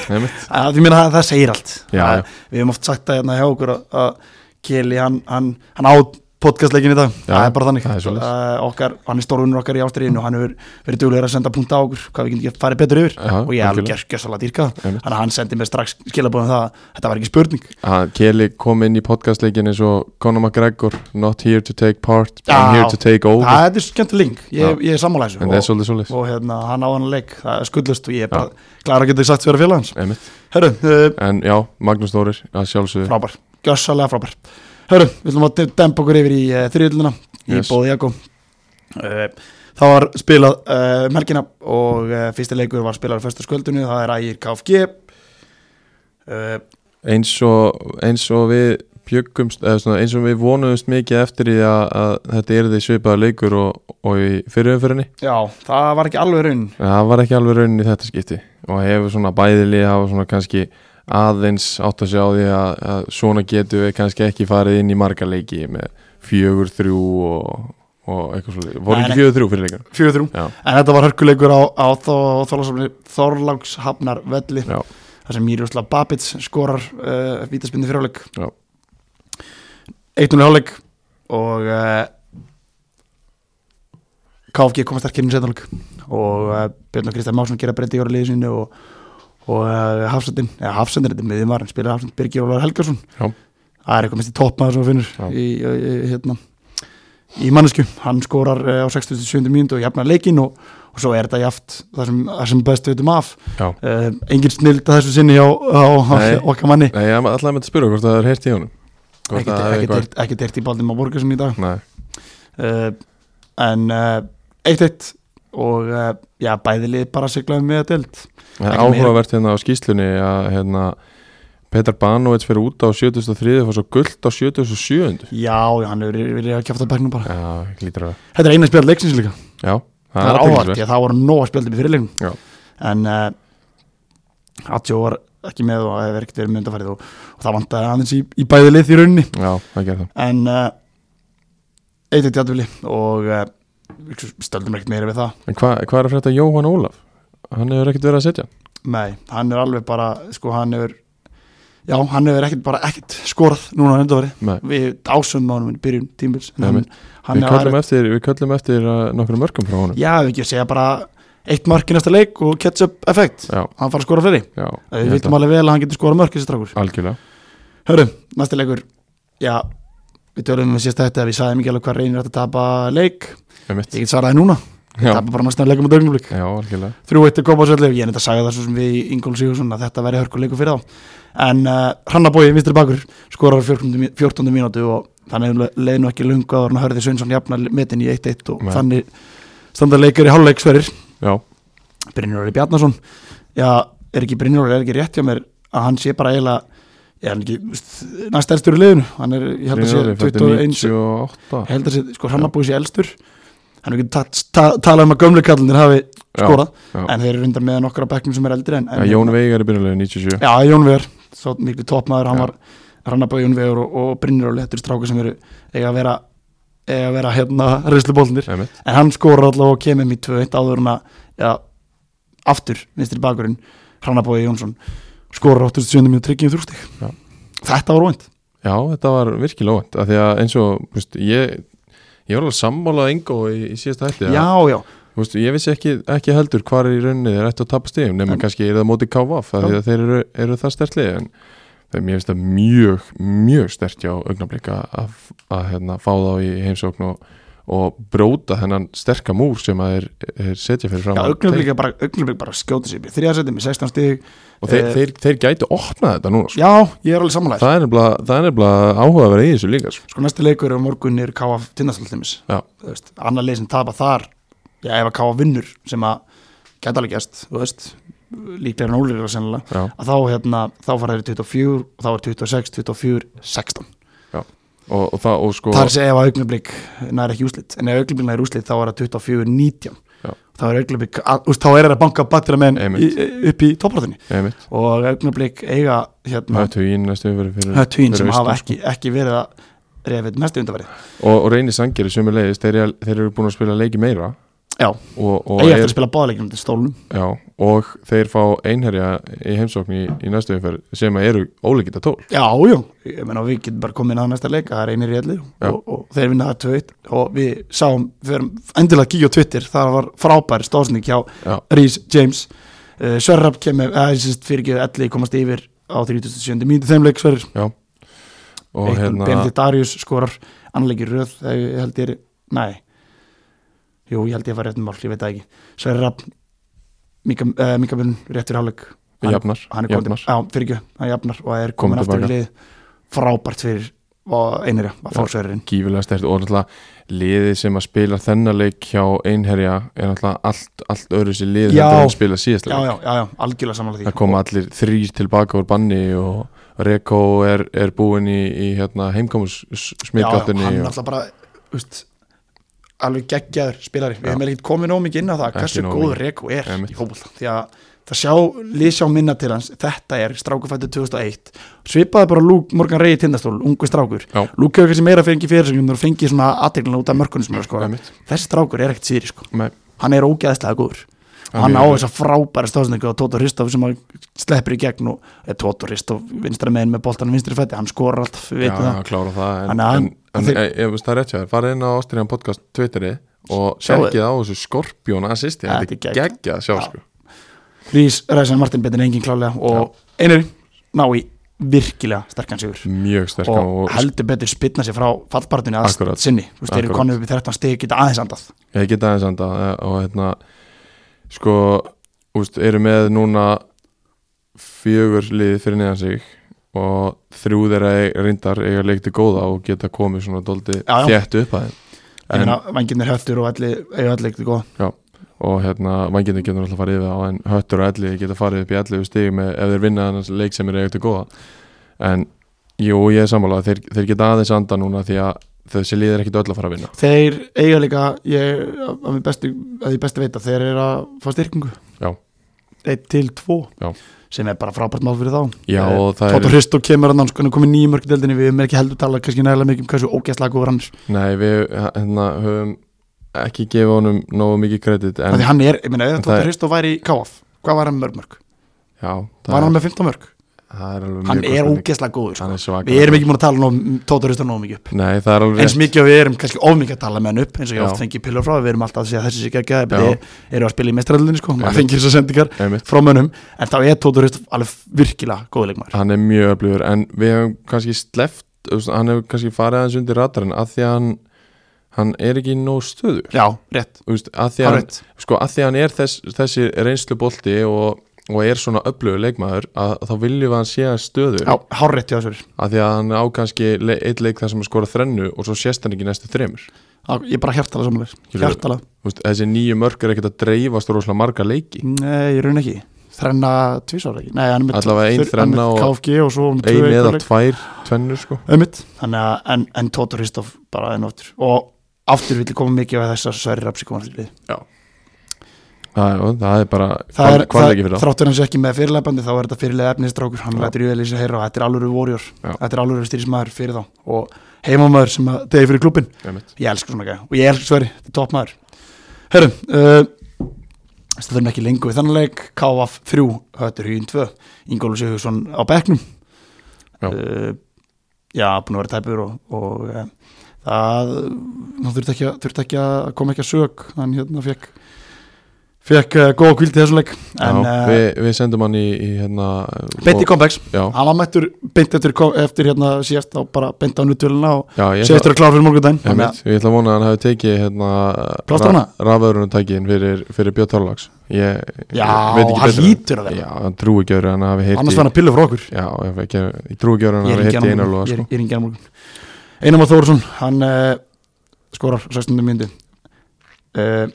B: einmitt.
A: að því minna það, það segir allt
B: Já,
A: Það-
B: já.
A: við hefum oft sagt það hérna hjá okkur að, að Keli hann, hann, hann á podcastleikin í dag,
B: Já,
A: það er bara þannig
B: það er svoleiðis.
A: Að okkar, hann er stórunur okkar í ástriðinu og hann hefur verið duglegur að senda punkt á okkur hvað við getum ekki farið betur yfir og
B: Já,
A: ég er alveg
B: algjörlega.
A: gerð gjössalega dýrka
B: Einmitt.
A: þannig að hann sendi mér strax skilabóðum það að þetta var ekki spurning
B: Hann- Keli kom inn í podcastleikin eins og Conor McGregor, not here to take part I'm
A: Já.
B: here to take over
A: það þetta er skemmt link,
B: Já.
A: ég, ég er sammála þessu
B: En það er svolítið svolítið
A: og hérna, hann á hann leik, það er skuldlust og ég er bara klara að geta sagt fyrir félagans
B: Einmitt.
A: Herru, uh,
B: En já, Magnús Þórir, að sjálfsögðu
A: frábær, gjössalega frábær Herru, við ætlum að dempa okkur yfir í uh, þriðluna í
B: Yes.
A: yes. bóði Jakko uh, Það var spilað uh, merkina og uh, fyrsti leikur var spilað á fyrsta sköldunni, það er ægir KFG uh,
B: eins og, eins og við bjöggumst, eða svona, eins og við vonuðumst mikið eftir í að, að þetta er því svipaða leikur og, og í fyrirumfyrinni
A: Já, það var ekki alveg raun
B: En það var ekki alveg raunin í þetta skipti og hefur svona bæðilið hafa svona kannski aðeins átt að sjá því að, að svona getum við kannski ekki farið inn í marga leiki með fjögur, þrjú og, og eitthvað svolítið. Voru
A: Nei,
B: ekki
A: nei.
B: fjögur, þrjú fyrir leikar?
A: 4-3,
B: Já.
A: en þetta var hörkuleikur á, á Þor- Þorlákshafni- Þorlákshafnar velli
B: Já,
A: þar sem Mírjusla Babits skorar uh, vítaspindu fyrirháleik
B: Já.
A: 1-0 háleik og uh, KFG komast ekki inn í setnáleik og uh, Björn og Kristján Másson gera breyti í orðið liðinu og, og uh, Hafsendin, eða Hafsendin þetta er miðjum var, spilar Hafsendin Birgir Ólar Helgarsson
B: Já.
A: það er eitthvað mest í toppmaður sem þú
B: Já.
A: finnur í, í, í, hérna, í mannesku hann skorar uh, á 67. mínútu og jafnar leikin og, og svo er þetta jaft þar sem, þar sem best við veitum af
B: já.
A: uh, engin snild að þessu sinni á, á, á
B: Nei.
A: okkar manni
B: Nei, ég ætlaði með að spyrja hvort það er heyrt í honum. Hvort það hafi eitthvað-
A: ekki deirt í Baldur Már Borgarsson í dag
B: Nei,
A: uh, en uh, eitt eitt og uh, já, bæðilið bara um siglaði með að deilt
B: það er
A: Ekki meira.
B: áhugavert hérna á skýslunni að hérna, Petar Banovits fyrir út á 73 og fór svo gullt á
A: já,
B: 77.
A: já, hann hefur verið að kjafta bæknum bara
B: Já, ekki lítur að.
A: þetta er eina spjald leiksins líka,
B: Já,
A: það er
B: athyglisvert.
A: áhært því að það voru nóg að spjaldum í
B: Já.
A: fyrirleiknum en uh, Atjó var ekki með og hefur ekkert verið með undanfærið og, og það vantaði aðeins í, í bæðilið í rauninni
B: Já, það gerði það.
A: en uh, eitt eitt játtvili og uh, við stöldum ekkert meira við það
B: En hvað hva er að frétta Jóhann Ólaf? Hann hefur ekkert verið að setja
A: Nei, hann er alveg bara sko hann hefur já, hann hefur ekkert bara ekkert skorað núna á endavari
B: Nei,
A: við ásum mánum í byrjun tímbils en
B: Nei,
A: hann,
B: mitt.
A: hann
B: við,
A: er
B: köllum eftir, við köllum eftir uh, nokkrum mörgum frá honum
A: já, ef ekki að segja bara eitt mörk í næsta leik og catch-up effekt
B: Já,
A: hann fara að skora fleiri
B: já ég
A: við
B: held
A: vitum
B: að-
A: alveg vel að hann getur skorað mörk þessi strákur
B: Algjörlega
A: Hörru, næsta leikur já, við um tölum við sérst þetta við sagðum ekki alveg hvað reynir að tapa leik
B: um mitt.
A: ég get svaraði núna,
B: Já,
A: tapa bara næsta leikum á dögnumlik
B: já, algjörlega
A: þrjú eitt er kopasöllu, ég er neitt að sagja það svo sem við Ingól Sigursson að þetta væri hörkuleiku fyrir þá en uh, Hrannabói, vinstri bakur skorar á 14. mí- 14. mínútu og þannig leið nú ekki lunga og hann hörði Sveinsson jafnar metin í 1-1 og
B: Nei.
A: þannig standa leikir í hálfleik sverir
B: Já,
A: Brynjóri Bjarnason já, er ekki Brynjóri, er ekki rétt hjá mér að hann sé bara eiginlega ég er ekki, veist, næst elstur í liðinu hann er, ég held að sé 21 ég
B: 98
A: held að sé, sko Hrannabói sé elstur hann er ekki ta ta talað um að gömlu kallinir hafi skorað
B: Já,
A: en þeir eru rundar með nokkra bekknum sem er eldri en, en
B: já Jón Veigar er byrjulega 97
A: já, Jón Vegar, svo miklu toppmaður hann
B: Já.
A: var Rannabæði Jón Vegar og, og Brynir og Lettur stráka sem eru eiga að vera eiga að vera hérna reynslubólnir
B: um mitt.
A: en hann skorar allavega og kemur mér 2-1 áður en að ja, aftur vinstri bakurinn Rannabæði Jónsson skorar 87. mjög tryggjum þrústig
B: Já.
A: um þetta var róind
B: já, þetta var virkilega óvænt af Því að eins og, þú veist, ég Ég var alveg sammálað engó í, í síðasta hætti
A: já, já,
B: Þú veist, ég vissi ekki, ekki heldur hvar er í rauninni þeir ættu að tapa stíðum nema
A: En-
B: kannski er það móti KVF af því
A: Já.
B: að þeir eru, eru það stertli en þeim ég finnst það mjög, mjög stert hjá augnablika að, að hérna, fá þá í heimsókn og, og bróta þennan sterka múr sem að er, er setja fyrir fram
A: Já, augnablik er bara, augnablik bara skjóta sér þriðarsætti með 16 stig
B: og þeir,
A: Eh,
B: þeir, þeir gætu opnað þetta núna sko.
A: Já, ég er alveg samanlæg
B: það er nefnilega, það er nefnilega áhuga að vera í þessu líka sko.
A: Sko næsti leikur er á morgun er KF tindastallimis
B: já,
A: Þú veist, Annað leið sem tapa þar Já, ef að KF vinnur sem að geta alveg gæst, þú veist líklega en ólega sennilega
B: já,
A: að þá, hérna, þá fara þeir í 24 og þá er 26, 24, 16
B: já. Og, og það og sko
A: Það er að segja ef að augnablik nær ekki úslit en ef augnablik nær úslit þá er það 24, 19
B: Já.
A: þá er augnablik, að, úst, þá er það banka batira menn í,
B: Einmitt.
A: upp í topparðinni
B: einmitt,
A: og augnablik eiga hérna,
B: höttu í næstu umferð fyrir-
A: höttuín
B: fyrir
A: sem
B: austan,
A: hafa
B: sko.
A: ekki, ekki verið að reyfið mest undarverið
B: og, og reynir sangeri sömu leiðis þeir, eru- þeir eru búin að spila leiki meira
A: Já,
B: og, og,
A: eiga
B: er-
A: eftir að spila báðalegjum til stólnum
B: já, og þeir fá einherja í heimsókn í, í næstu umferð sem að eru ólíkita tól
A: Já, já, ég meina við getum bara komið inn að næsta leik, það er einir í elli
B: Já.
A: og, og þeir vinna það 2-1 og við sáum, við erum endilega að kíkja á Twitter það var frábær stóðsning hjá
B: já,
A: Rhys James uh, Sverrab kemur, eða ég sýst fyrir ekki elli komast yfir á 37. mínútu þeim leik Sverrir,
B: já og
A: eitt hérna...
B: hérna
A: Benedikt Darius skorar anleiki röð, þegar ég held ég er nei, jú, ég held ég var rétt um mál, ég veit það ekki, Sverrab Mika, uh, Mika Björn, rétt fyrir hálfleik Hann-
B: jafnar,
A: hann er komin,
B: jafnar.
A: já, fyrir ekki, hann jafnar og er komin
B: Kominn
A: aftur í
B: tilbaka.
A: lið frábært fyrir og einirja að fá
B: Já.
A: sverðurinn
B: gífilega stert og náttúrulega liðið sem að spila þennan leik hjá einherja er náttúrulega allt, allt öðru sér liðið
A: Já.
B: heldur en að spila síðast
A: já,
B: leik
A: já, já, já, algjörlega samanlega
B: það
A: því
B: koma allir þrýr tilbaka úr banni og Reko er, er búin í, í hérna, heimkomus
A: já, já,
B: smittgáttinni
A: hann
B: og
A: alltaf bara veist, alveg geggjaður spilari við
B: Já.
A: hefum ekkert komið nóg mikið inn á það
B: Ekki
A: hversu
B: nógu
A: góð
B: mikið.
A: Reko er
B: Einmitt.
A: í fótbolta því að það sjá, lið sjá minna til hans þetta er strákufættu 2001 svipaði bara Lúk Morgan Rey í tindastól ungu strákur,
B: Já.
A: Lúk hefur kannski meira fengi fyrir sem þú fengið svona aðteglina út af mörkunum sem er að skora
B: Einmitt.
A: þessi strákur er ekkert síri sko
B: Nei,
A: hann er ógeðslega góður og
B: Hann
A: hann
B: er-
A: á þess að frábæra stóðsningu og Tóta Ristof sem hann sleppur í gegn og eða, Tóta Ristof vinstra megin með boltan vinstri fætti, hann skorar alltaf, við
B: já,
A: veitum
B: það.
A: það
B: klára það en,
A: Þannig að hann-
B: en, en
A: þeir-
B: þeir... ég veist það er rétt hjá þér, farið inn á Ástriðan podcast Twitteri og
A: Sjáðu.
B: sjekkið á þessu Skorpjón assisti,
A: Ja,
B: þetta
A: þetta
B: er
A: er gegg.
B: geggja sjá
A: Já.
B: sko
A: Rís Ræsan Martin betur en engin klálega og einari ná í virkilega sterkan sigur
B: mjög sterk
A: og,
B: og, og
A: heldur betur spilna sér frá fallpartinu að
B: Akkurat.
A: sinni, þú veist, þeir eru
B: Akkurat.
A: konum upp í 13 stegi geta aðeins andað
B: Ég get aðeins anda eh, og hérna sko, úst, eru með núna fjögur lið fyrir neðan sig og þrjú þeirra eig- reyndar eiga leikti góða og geta komið svona doldi
A: Já, já.
B: þétt upp að
A: ég
B: þeim en,
A: meina, vangirnir höttur og allir eiga allir ekkert góð
B: og hérna, vanginni getur alltaf farið yfir það en höttur og elli geta farið upp í elli stig með, ef þeir vinna annars leik sem er eiga til góða en jú, ég er sammála þeir, þeir geta aðeins anda núna því að þessi lið er ekkit öll að fara að vinna
A: þeir eiga líka ég, að, að, bestu, að ég bestu veita, þeir eru að fá styrkingu
B: Já.
A: 1 til 2
B: Já.
A: sem er bara frábært mál fyrir þá Eh,
B: Já, og það
A: Tóta
B: eru-
A: Hristó kemur að námskunni komið nýjum mörgdeldinni við erum ekki heldur tala kannski nægilega mikið um hversu ógæstlega góður hann er
B: Nei, við hérna, höfum ekki gefið honum nógu mikið kredit en
A: Af því hann er, ég meina, ef
B: Það
A: Tóta
B: er-
A: Hristó væri í KF hvað var hann með mörg mörg?
B: já, það,
A: Var
B: er,
A: hann með 15 mörg?
B: það er alveg
A: Hann
B: mjög góð
A: er
B: spurning.
A: ógæstlega góður sko.
B: Hann er svakar
A: Við erum ekki múin að tala um Tóta Hristó nóg mikið upp
B: Nei, það er alveg
A: eins mikið og við erum kannski ofmikið að tala með hann upp eins og ég
B: Já.
A: oft fengi pillur frá, við erum alltaf að segja þessi sér ekki að
B: Já.
A: eru að spila í mestraröldinni sko, maður
B: Einmitt.
A: fengi þessar sendingar
B: Einmitt.
A: frá mönnum en þá er Tóta Hristó alveg virkilega góð leikmaður
B: Hann er mjög öflugur en við hefum kannski sleft hann hefur kannski farið aðeins undir radarinn af því að hann, hann er ekki nóg stöður
A: Já, rétt,
B: Úst, að, því að, hann,
A: hárrétt
B: sko, að því að hann er þess, þessi reynslu bolti og, og er svona öflugur leikmaður að, þá viljum við að hann sé að stöður
A: Já, hárrétt hjá þessari
B: af því að hann á kannski le eitt leik þar sem að skora þrennu og svo sést hann ekki næstu þremur
A: Á, Ég er bara hjartala samanlega
B: Skilurðu?
A: Hjartala,
B: Vist, þessi nýju mörg er ekkert að dreifast rosalega marga leiki
A: nei, ég raun ekki Þrenna tvísar ekki Nei, hann er með
B: Allavega ein
A: þur- hann er
B: þrenna
A: með
B: og-
A: KFG og svo með tvö
B: ein
A: í
B: eða
A: hverleik.
B: tvær tvennur sko
A: Einmitt. Þannig að, en, en Tóta Ristoff bara enn og aftur Og aftur vill ég koma mikið af þess að Sverri Rapsi koma til lið
B: það, er- það er bara
A: Það er,
B: hvað
A: það,
B: leiki fyrir það
A: þráttur hans ekki með fyrirlegbandi þá er þetta fyrirlega efnistrákur, hann
B: Já.
A: lætur í velísi heyra og þetta er alvöru warrior,
B: Já.
A: þetta er alvöru stýrismæður fyrir þá og heimamaður sem að degi fyrir klubin
B: Einmitt.
A: ég elsku svona gæja og ég elsku Sverri, þetta er topp maður Herru, uh, stöðum ekki lengur við þannig leik KF 3, Hötur Hugin 2 Ingólu Sigurðsson á bekknum
B: Já.
A: uh, já búin að vera tæpur og, og uh, það, nú þurfti ekki, að- þurfti ekki að koma ekki að sög hann hérna fekk fekk uh, góða kvíld í þessum leik en
B: já,
A: uh,
B: við, við sendum hann í, í hérna
A: beint í
B: og-
A: comebacks
B: Já,
A: hann var mættur beint eftir, kom- eftir hérna síðast og bara beint á nuttvöluna og
B: já, ég
A: síðast er
B: ætla,
A: að klára fyrir morgundaginn
B: ég,
A: þannig
B: mitt, ég ætla að vona að hann hafi tekið hérna
A: Plástrana?
B: raföðrunutækin fyrir, fyrir Björn Þorlags Ég
A: að- já,
B: ég veit ekki
A: hann
B: betur en-
A: lítur að vera
B: Já, hann trúi ekki öðru en að hafi
A: annars var
B: heyrt í
A: hann að pillu frá okkur
B: Já, ég, ég, ég trúi ekki öðru en
A: ég
B: að
A: er
B: hafi
A: ekki
B: heyrt í
A: hann á
B: einar
A: morgun
B: loga
A: ég
B: sko.
A: er- ég er ekki hann á morgun Einar Már Þórsson, hann uh, skorar 16. myndu uh,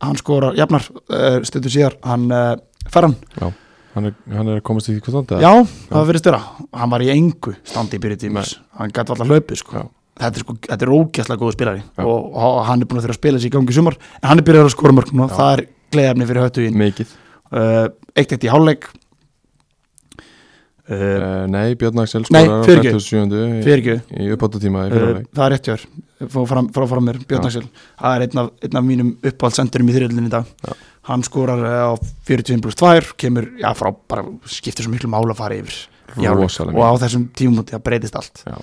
A: hann skorar jafnar uh, stundu síðar hann uh, fer hann,
B: hann, er- hann er að komast í því hvað þannig
A: já, það verið störa hann var í engu standi í byrju tímis hann gæti alltaf hlaupið sko.
B: Já.
A: þetta er, sko, þetta er ógæslega góðu spilari
B: Já.
A: og, og hann er búin að þurfa að spila sér í gangi í sumar en hann er byrjað að skora mörg núna,
B: Já.
A: það er gleðafni fyrir höttu
B: Mikið
A: uh, eitt eitt í hálfleik uh,
B: uh, Nei, Björn Axel
A: Nei,
B: skorar á
A: fyrirgefðu.
B: 57.
A: fyrir ekki
B: Í uppáttatíma í
A: Uh,
B: fyrirleik
A: það er rétt hjá þér Fá fram, frá fram mér, Björn
B: Já.
A: Axel það er einn af, einn af mínum uppáhaldsendurum í þriðlunni í dag
B: Já.
A: hann skorar uh, á 41 pluss 2 kemur, já, frá, bara skiptir svo miklu mála að fara yfir í hálfleik.
B: Rosalega
A: og á þessum tímumúti, það breytist allt
B: Já.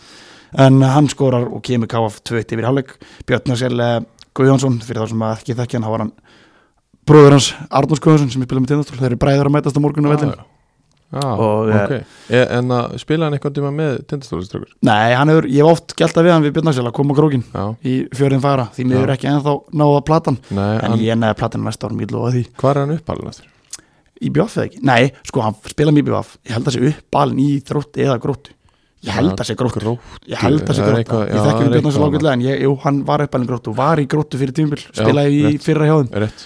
A: en uh, hann skorar og kemur KF 2 yfir í hálfleik, Björn Axel uh, Guðjónsson, fyrir þá sem að ekki þekki hann þá var hann bróður hans Arnús Guðjónsson sem ég spilaði með tindastól, þeir eru bræður að mætast á morgun á vellinu,
B: Já, Ah, já.
A: Og, eh,
B: ok e, En að spila hann eitthvað tíma með tindastóliströkkur
A: nei, hann hefur ég hef oft gælt við hann við Björn Axel að koma á krókin
B: Já,
A: í fjörðin fara, því miður
B: Já.
A: ekki ennþá náða platan
B: nei,
A: En
B: hann,
A: ég næði platinu næsta árum, ég lofa því
B: hvað er hann uppalinn aftur?
A: Í bjóf eða ekki? Nei, sko, hann spila mjög bjóf Ég held að sé uppalinn í þrótti eða gróttu Ég held að sé gróttu
B: Gróttu,
A: Ég held að sé
B: það
A: gróttu
B: er eitthvað- já,
A: Ég
B: það
A: þekki
B: er
A: um Björn Hansen
B: eitthvað
A: ágætlega En ég, jú, hann var uppalinn gróttu Var í gróttu fyrir tímubil
B: Já,
A: Spilaði í
B: rétt.
A: fyrra hjáðum
B: rétt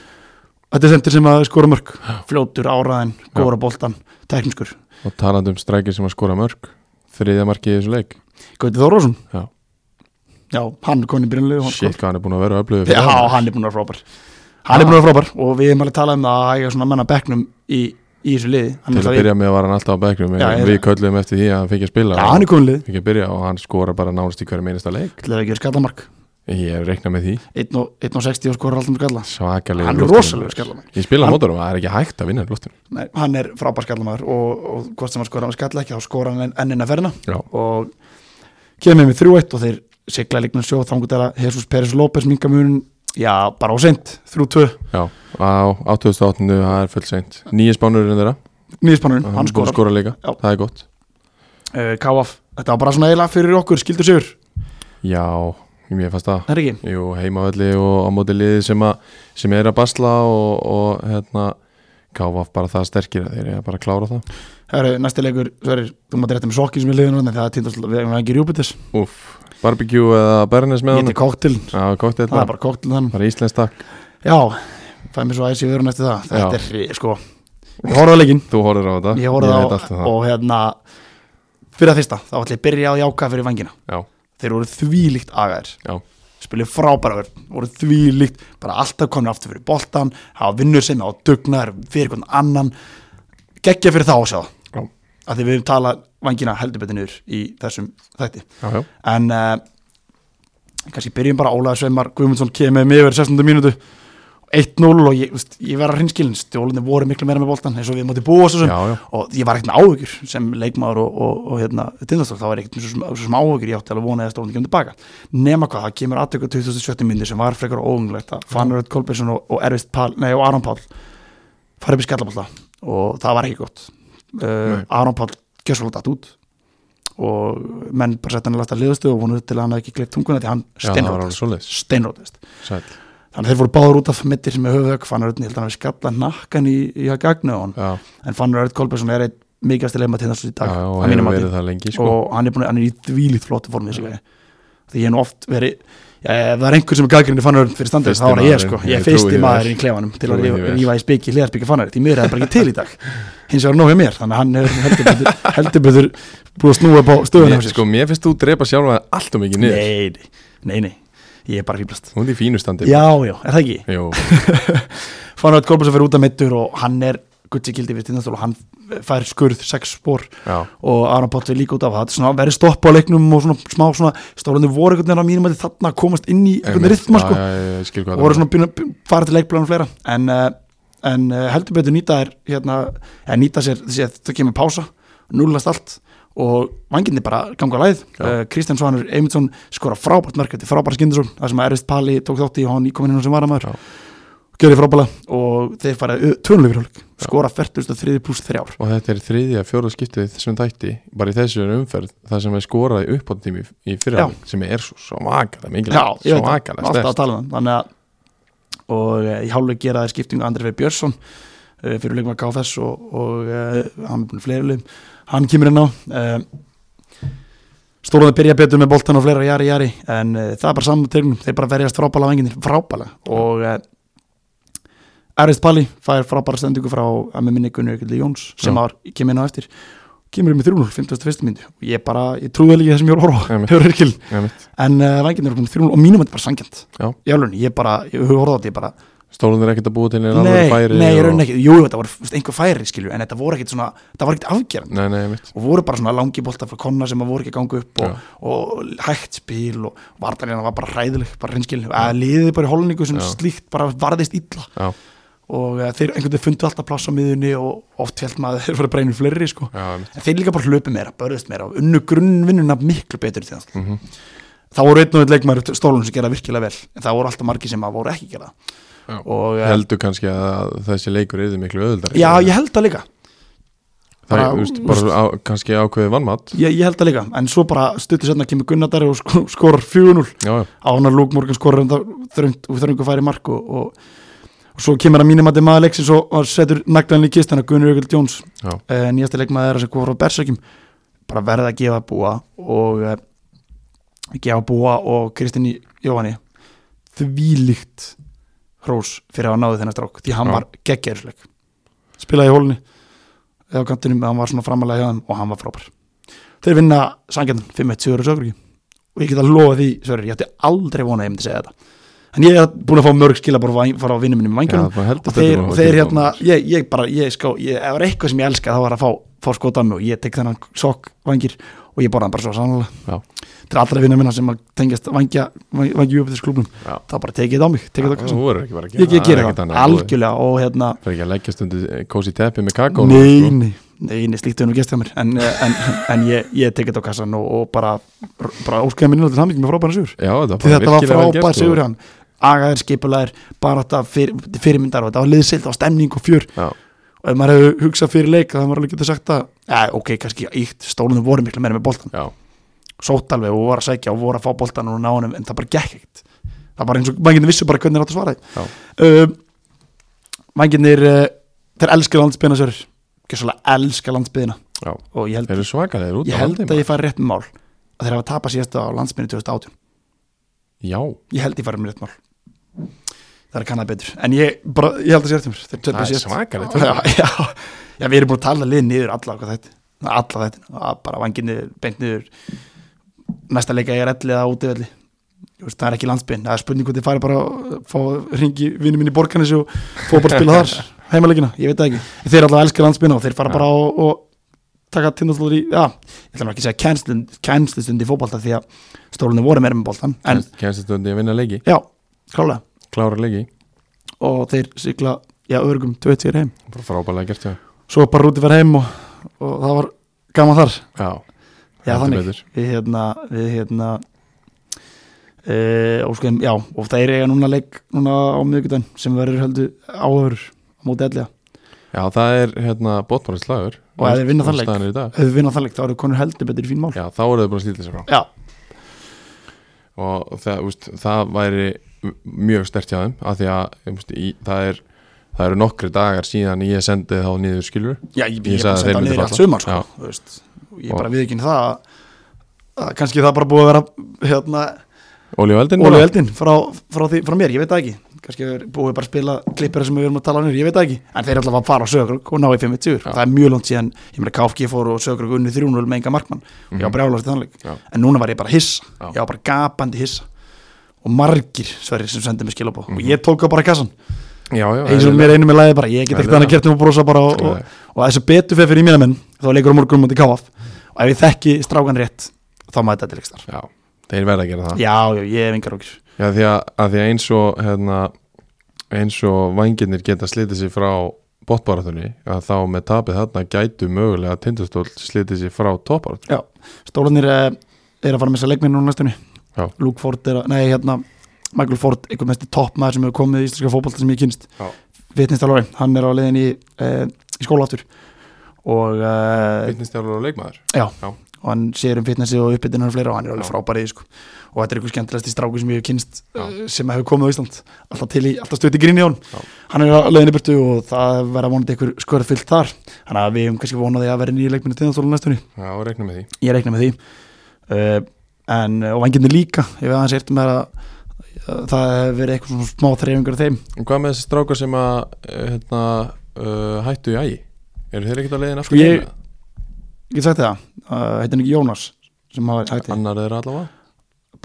A: Þetta er sendir sem að skora mörg Fljótur, áraðin, góra boltan, teknískur
B: Og talandi um strækir sem að skora mörg Þriðja markið í þessu leik
A: Gauti Þórósson
B: Já.
A: Já, hann er konin byrjunlegu
B: Shit, hvað hann er búin að vera öflugur
A: Já, hann er búin að vera frábær Hann er búin að vera frábær Og við hefum alveg talað um það að eiga svona menna bekknum í, í þessu liði Hann er
B: Til að
A: náttúrulega-
B: byrja með var hann alltaf á bekknum
A: Já,
B: en
A: ég-
B: Við köllum eftir því að hann fikk að spila
A: Já, hann er konin lið
B: Fikk að byrja og hann skora bara nánast í hverju meinasta leik
A: Það er ekki skallamark
B: Ég reikna með því
A: 1 og, 1 og 60 og skorar alltaf með skalla
B: Svakalega
A: Hann er rosalegur skallamær.
B: Ég spila
A: Hann-
B: hann... mótorum, það er ekki hægt að vinna í lóttunum
A: Nei, hann er frábær skallamæður og, og hvort sem hann skorar hann skalla ekki þá skorar hann enn- ennina ferðina
B: Já,
A: og kemur með 3-1 og þeir sigla líknum sjó þangur til að Jesus Peres López minga munin já, bara á seint, 3-2
B: já, á 2008 það er full seint Nýja spánurinn þeirra
A: nýðispanurinn, hann
B: er búinn að
A: skorar
B: skora líka,
A: Já.
B: það er gott
A: uh, KF, þetta var bara svona eiginlega fyrir okkur skildur sigur,
B: Já, mér fannst það
A: það er ekki
B: Jú, heimavelli og á móti liði sem, að, sem er að basla og, og hérna KVF bara það sterkir að þeir eru bara að klára það
A: Heru, næsti leikur, Sverrir, þú maður rétta með sokkin sem er liðin þannig það er tíndast, við hefum ekki rjúpitis
B: Úff, barbecue eða bernes með
A: ég til
B: honum
A: koktil,
B: Já, gott
A: það
B: eitthvað,
A: er bara koktil þannig
B: bara íslensk takk
A: já, fæði mér svo æs í vörun eftir það þetta
B: Já.
A: er, hri- sko, ég horfði á leikin
B: Þú horfður á þetta,
A: ég horfði á
B: veit allt um það
A: og hérna fyrir að fyrsta, þá ætla ég að byrja á því ákvað fyrir vangina
B: Já,
A: þeir voru þvílíkt agaðir
B: já,
A: spiluð frábæra verð, voru þvílíkt bara alltaf komin aftur fyrir boltan hafa vinnur sem á dugnaður fyrir hvern annan geggja fyrir þá að sjá það
B: já,
A: af því við höfum talað vangina heldur betur niður í þessum þætti
B: já, já.
A: en uh, kannski byrjum bara Ólaður Sveimar Guðmundsson kemur með yfir 16. mínútu 1-0 og ég, úst, ég verð að hrinskilin stjólunni voru miklu meira með boltan eins og við móti búa svo sem
B: já, já.
A: og ég var ekkert með áhugur sem leikmaður og, og, og hérna, tindastól, þá var ég ekkert með svo sem, svo sem áhugur ég átti alveg vonaði að stólunni kemur tilbaka nema hvað, það kemur aðtöku 2017 myndi sem var frekar óunglegt að Fanuröld Kolbjörnsson og, og Erfist Pál, nei og Aron Pál fara upp í skallaballa og það var ekki gott uh,
B: Nei.
A: Aron Pál gjössalega datt út og menn bara sett hann í lasta liðustu og vonuð til að hann hefði ekki gleitt tunguna því hann
B: já það var alveg
A: steinrótast
B: svoleiðis
A: steinrótast
B: Sæll,
A: þannig að þeir voru báður út af mittir sem er höfðök Fanuröld, ég held að hann við skalla nakkan í, í að gagnu á hann
B: já,
A: en Fannur Örd Kolbjörnsson er einn mikilvægast leima til þessu í
B: já,
A: dag
B: já,
A: að
B: og hefur
A: mínu mati.
B: verið það lengi sko
A: og hann er, búin, hann er í þvílíkt flottu formi þessi gæði því ég hef nú oft verið já, ef það er einhver sem er gaggrinni Fannur Örd fyrir standið
B: Fyrsti
A: þá er það ég sko,
B: maðurinn.
A: ég
B: Ég
A: er
B: trúi
A: fyrsti
B: því
A: maðurinn
B: vel.
A: í klefanum til að
B: Trúi
A: rífa
B: því vel.
A: rífa í spiki hliðarspiki Fannur því mér er það bara ekki til í dag hins vegar er nóg hjá mér, þannig að hann hefur heldur betur, heldur betur búið að snúa upp á stöðuna
B: mér, Sko, mér finnst þú drepa sjálfa þig allt og mikið niður
A: nei, nei, nei, nei, ég er bara fýblast
B: Hún er í fínustandi
A: já, já, er það ekki?
B: Jú,
A: Fannur Örd Kolbjörnsson fyrir út af mittur og hann er gutsi gildi við tindastól og hann fær skurð sex spór
B: já,
A: og Aron Pátt við líka út af það er svona verið stopp á leiknum og svona smá svona stólandi voru einhvern veginn á mínum að þarna að komast inn í einhvern
B: Einmitt,
A: rithma
B: já,
A: sko
B: já, já, ég skil
A: og
B: hvað það
A: voru
B: var.
A: svona byrjun að b- fara til leikplanum fleira en, uh, en uh, heldur betur nýta er hérna, eða nýta sér þessi að það kemur pása, núlast allt og vanginni bara ganga að læð
B: Já.
A: uh, Kristján Svanur Eymundsson skora frábært markið, frábært skindisum það sem að Erist Pali tók þátt í og hann íkominn hinn sem varamæður
B: Já.
A: Gjörði frábælega og þeir fara eh, tvönulegur hálfleik skora 43 pluss 3
B: og þetta er þriðja fjóra skiptið í þessum tætti bara í þessu umferð það sem er skoraði uppáttími í
A: Já.
B: fyrirhalding sem er svo svakalega
A: Já,
B: mikilvægt
A: ég veit það,
B: svakalega
A: alltaf að
B: stærst
A: tala um það Þannig að og eh, í hálfleik gera þeir skiptingu Andri Frey Björnsson eh, fyrir leikum að KFS og, og eh, hann er búin fleiri leikum hann kemur inn á eh, Stólaði byrja betur með boltan og fleira jari jari en eh, það er bara saman tegnum, þeir bara verjast frábæla á enginir, frábæla og eh, Erist Pali fær frábæra stendingu frá að með minni Gunni Ökildi Jóns sem
B: Já.
A: ár, kemur inn á eftir kemur um í 3-0, 51. myndu og ég bara, ég trúði líka þessum ég voru að
B: Einmitt.
A: horfa hefur ekki
B: Einmitt.
A: en uh, vænginir eru komin 3-0 og mínum þetta bara sangjant
B: Já.
A: í alveg, ég bara, ég höfðu orðað þetta ég bara
B: stólun er ekkert að búa til neina
A: nei,
B: alvöru færi
A: nei, ég
B: og-
A: raunin ekki, jú, þetta voru þú veist, einhver færi skilju, en þetta voru ekkit svona, það var ekkit afgerand
B: nei, nei, mitt
A: og voru bara svona langi boltar frá konna sem að voru ekki að ganga upp og,
B: Já.
A: og hægt spil og vartanina var bara hræðileg, bara reynskil að liðið bara í holningu sem
B: Já.
A: slíkt bara varðist illa
B: já,
A: og uh, þeir einhvern veginn fundu alltaf pláss á miðunni og oft held maður að þeir voru breynir fleiri sko.
B: já, mitt
A: en þeir líka bara hlupu meira, börðist meira og unnu grunnvinnuna miklu betur til þannig þá voru einn og einn leikmæri stólun sem gera virkilega vel en það voru alltaf margir sem að voru ekki að gera það.
B: Já.
A: og eh,
B: heldur kannski að þessi leikur er miklu öðuldar
A: já, ég held það líka
B: það
A: bara-
B: er úst, bara á, kannski ákveðið vannmatt
A: ég, ég held það líka, en svo bara stuttu setna kemur Gunnadari og sko, skor 4-0
B: já, já,
A: á hann að Luke Morgan skorur þröngt og þröngu færi mark og, og, og svo kemur að mínum að þið maður leiksins og, og setur naglan í kistana Gunnar Jökull Jóns
B: já,
A: uh, nýjasta leikmaður þeirra sem kom frá Berserkjum bara verða að gefa búa og uh, gefa búa og Kristín Jóhanni þvílíkt hrós fyrir að hafa náði þennan strák því hann
B: Já.
A: var geggjæðisleik spilaði í hólunni eða á kantinum, hann var svona framalega hjá þeim og hann var frábær þeir vinna sangjarnan 5-1 Sigurður Sögriki og ég get að lofa því, Sögriki, ég ætti aldrei vona að ég myndi segja þetta en ég er búin að fá mörg skilabor frá vinnum minnum í
B: já
A: vangjörnum
B: það heldur
A: og þeir,
B: betur að-
A: þeir hérna, ég, ég bara ég ská, ég, ef það er eitthvað sem ég elska þá var að fá, fá skota á mig og ég tek þennan sokk vangir og ég borða hann bara svo
B: Já.
A: sannlega til allra vinna minna sem að tengjast vangja, vangja upp þessu klubnum
B: Já.
A: þá bara tekið þetta á mig, tekið þetta á
B: Já, þú
A: kassan
B: verður ekki bara að
A: ég, ég
B: það er
A: geri
B: ekkert
A: það,
B: annað í boði.
A: algjörlega og hérna,
B: Það er ekki að leggja stundu kósi teppi með kakó sko.
A: nei, nei nei, nei, slíkt hefur nú gestið á mér en, eh, en, en ég, ég tekið þetta á kassan og, og bara, bara óskaði minnilega til hamingum með frábæra sigur
B: Já, þetta
A: því þetta var
B: virkilega vel gert,
A: frábær
B: sko.
A: sigur hann agaðir, skipulaðir, bara þetta fyr, fyrirmyndar og þetta var liðsild og stemning og fjör
B: Já,
A: og ef maður hefur hugsað fyrir leik þá hefur maður alveg getið sagt að ja, ok, kannski ítt, stólunum voru miklu meira með boltan
B: já,
A: sótt alveg og voru að sækja og voru að fá boltan og ná honum en það bara gekk ekkert það bara eins og mængirnir vissu bara hvernig þeir áttu að
B: já,
A: svara um, mængirnir uh, þeir elska landsbyðina sér gjössalega elska landsbyðina
B: já
A: og ég held,
B: Þeir eru svakalegir út á
A: ég held
B: halvtíma.
A: að ég fari rétt með mál að þeir hafa tapað síðasta á landsbyðinu 2018
B: Já,
A: ég held ég fari með rétt mál það er að kanna það betur en ég, bara, ég held að sér eftir mér þeir
B: það
A: töpuðu
B: er
A: síðast
B: svakalegt
A: já, já, já, við erum búin að tala lið niður alla okkar þetta, alla þetta bara vangið niður, beint niður næsta leika ég er elli eða úti elli veist, það er ekki landsbyrn, það er spurning hvort þið farið bara að fá ringi vinnu minni í borganis og fá bara að spila þar, heimalegina ég veit það ekki, En þeir alltaf elskar landsbyrn og þeir fara
B: Já.
A: bara og, og taka tindastóður í, já, ég ætla nú ekki að segja kænslistund í fótbolta því að stólunni voru meira með boltan, en
B: Kennstu stundi að vinna leiki,
A: já, klálega
B: klára leiki
A: og þeir sigla, já, örgum 2-1 sigur heim
B: Bara frábælega gert, já
A: svo bara rútið verið heim og, og það var gaman þar
B: Já,
A: já,
B: heldur
A: þannig,
B: betur.
A: við hérna við hérna uh, óskuðum, já, og það er eiga núna leik núna á miðvíkudan sem verður heldur áhör á móti ellega
B: Já, það er hérna bóttmárið slagur
A: Og ef þeir vinna þann leik.
B: Staðan er í dag
A: ef við vinna það leik, þá eru konur heldur betur í fín mál
B: Já, þá eru þau búin að slíta sér frá
A: já,
B: og það, úst, það væri mjög stert hjá þeim af því að úst, í, það er það eru nokkri dagar síðan ég sendi þá niður skilur
A: já ég, ég,
B: Ég
A: ég
B: sagði
A: bara
B: að
A: setja
B: þeir myndu
A: niður í allt
B: falla.
A: sumar sko,
B: Já.
A: þú veist, ég
B: Og-
A: bara við ekki það að, að kannski það bara búið að vera hérna,
B: Óli og Eldin
A: Óli
B: bara?
A: Eldin frá, frá, því, frá mér, ég veit það ekki kannski er búið bara að spila klippir sem við erum að tala um hér, ég veit það ekki en þeir ætla að fara á sögrug og ná í 50
B: Já.
A: það er mjög langt síðan, ég meina KFG fór og sögrug unni 3-0 með enga markmann og ég var brjálast í þannleik,
B: Mhm. Já.
A: en núna var ég bara hissa
B: Já.
A: ég var bara gapandi hissa og margir sverri sem sendið mér skilabó og ég tók á bara kassan,
B: Já, Mhm. já,
A: eins og
B: eðlilega.
A: mér einu með læði bara ég get ekkert
B: Eðlilega.
A: annað gert um að brosa bara og, og,
B: Nei.
A: og þessu betur fyrir, fyrir mína menn þá leikur á morgun mútið KF og ef ég þekki strákan rétt þá maður þetta til ekstar
B: Já, þeir verða að gera það
A: já, já, ég hef engar okkur
B: Já, því að, að því að eins og hérna, eins og vangirnir geta slitið sér frá bóttbaratunni að þá með tapið þarna gætu mögulega tindastól slitið sér frá toppbaratunni
A: eh, Já, stólanir er að fara með þessa leikmenn núna næstunni
B: Já.
A: Luke Ford er að, nei hérna Michael Ford, einhver mest toppmaður sem hefur komið í íslenska fótbolta sem ég kynst
B: Já.
A: vitnistalóri, hann er á leiðin í, eh, í skóla aftur og, eh,
B: Vitnistjálfur og leikmaður
A: já,
B: Já.
A: og hann sér um fitnessi og uppbytinu og fleira og hann er alveg
B: Já.
A: frábærið sko. og þetta er einhver skemmtilegasti stráku sem ég hef kynst
B: Já.
A: eh, sem hefur komið á Ísland alltaf, til í, alltaf stutt í grinni á hann
B: Já.
A: hann er á leiðin í burtu og það verða vonandi einhver skörð fyllt þar þannig að við hefum kannski vonaði að vera nýja leikminu tindastóla næstunni
B: Já, og reikna með því
A: ég reikna með því uh, en, og vengirni líka ég veið aðeins eirt með að að það hefur verið eitthvað svona smá þreifingar af þeim
B: En hvað með þessi strákar sem að eh, hérna, uh, hættu í ægi? Eru þeir ekkert að leiðin
A: Sko,
B: aftur
A: ég-
B: heim eða?
A: ég get sagt það, uh, heitir hann ekki Jónas sem hafa hætti
B: Annar er allavega?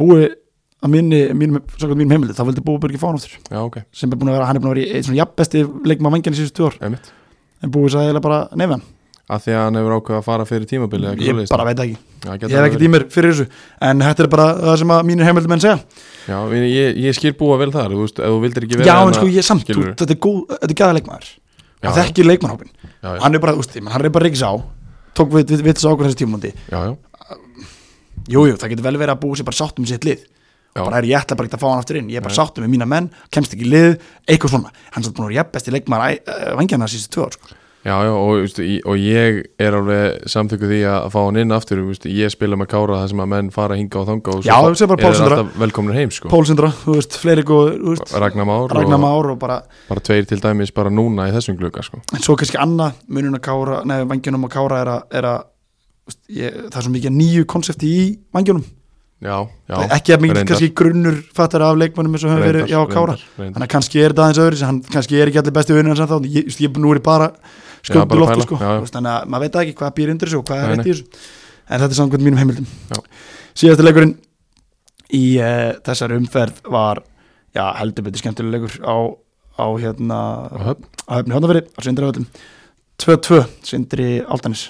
A: búi að minni, mínum, samkvæmt mínum heimildi þá vildi Búi Björgi fá hann aftur
B: Já, ok,
A: sem er búin að vera, hann er búin að vera í eitt svona jafnbesti leikma vengjarni síðustu tvö ár
B: einmitt
A: en Búi sagði eiginlega bara nefn
B: Að því að hann hefur ákveð að fara fyrir tímabilið eða
A: ég
B: eitthvað
A: bara veit það ekki,
B: svoleiðis. Já,
A: ég hef ekkert í mér fyrir þessu en þetta er bara það sem að mínir heimildi menn segja
B: Já, ég, ég, ég skil búa vel þar, þú veist, ef þú vildir ekki vera
A: já en
B: hérna,
A: sko ég samt, þú,
B: skilurðu.
A: þetta er góð, þetta er gæða leikmaður
B: Já,
A: það þekkir leikmannhópin
B: já, já,
A: hann er bara, þú veist, ég meina, hann er bara reyks á tók við, við, við þessu ákvörðan þessu tímúndi
B: já, já,
A: jújú, það getur vel verið að búi sér bara sáttum sitt lið
B: Já.
A: bara er ég ætla bara ekki að fá hann aftur inn ég er bara sáttum með mína menn, kemst ekki í lið eitthvað svona, hann er samt búin að vera jafnbesti leikmaður vangjana síðustu tvö ár sko.
B: já, já og, þú veist, í- og ég er alveg samþykku því að fá hann inn aftur, þú veist, ég spila með Kára það sem að menn fara hinga og þanga og
A: Já, þú segir bara Pál
B: er
A: Sindra.
B: alltaf velkomnir heim, sko
A: Pólsindra, þú veist, fleiri góð, þú veist
B: Ragnar Már
A: Ragnar Már og bara,
B: og bara tveir til dæmis bara núna í þessum glugga, sko
A: en svo kannski annað munun að kára, nei, vangjunum að kára er að, er að þú veist, ég, það er svo mikið nýju konsepti í vangjunum
B: Já, já
A: ekki að mikið
B: reyndar.
A: kannski grunnur fattar af leikmannum eins og höfum verið,
B: Reyndar,
A: já, kára
B: reyndar, reyndar.
A: þannig að kannski er það aðeins öðru hann kannski er ekki allir besti vinnur sem þá ég, þú veist, ég nú er ég bara
B: Já, bara
A: sköndu lofti
B: pæla,
A: sko,
B: já, já.
A: Þú veist, þannig að maður veit ekki hvað býr undir þessu og hvað er
B: Nei,
A: rétt í þessu en þetta er samkvæmt mínum heimildum
B: Já.
A: síðasta leikurinn í uh, þessari umferð var já, heldur betur skemmtilega leikur á, á hérna
B: Á Höfn.
A: á höfni hóndafyrir á sindri völdum 2-2 sindri Altanis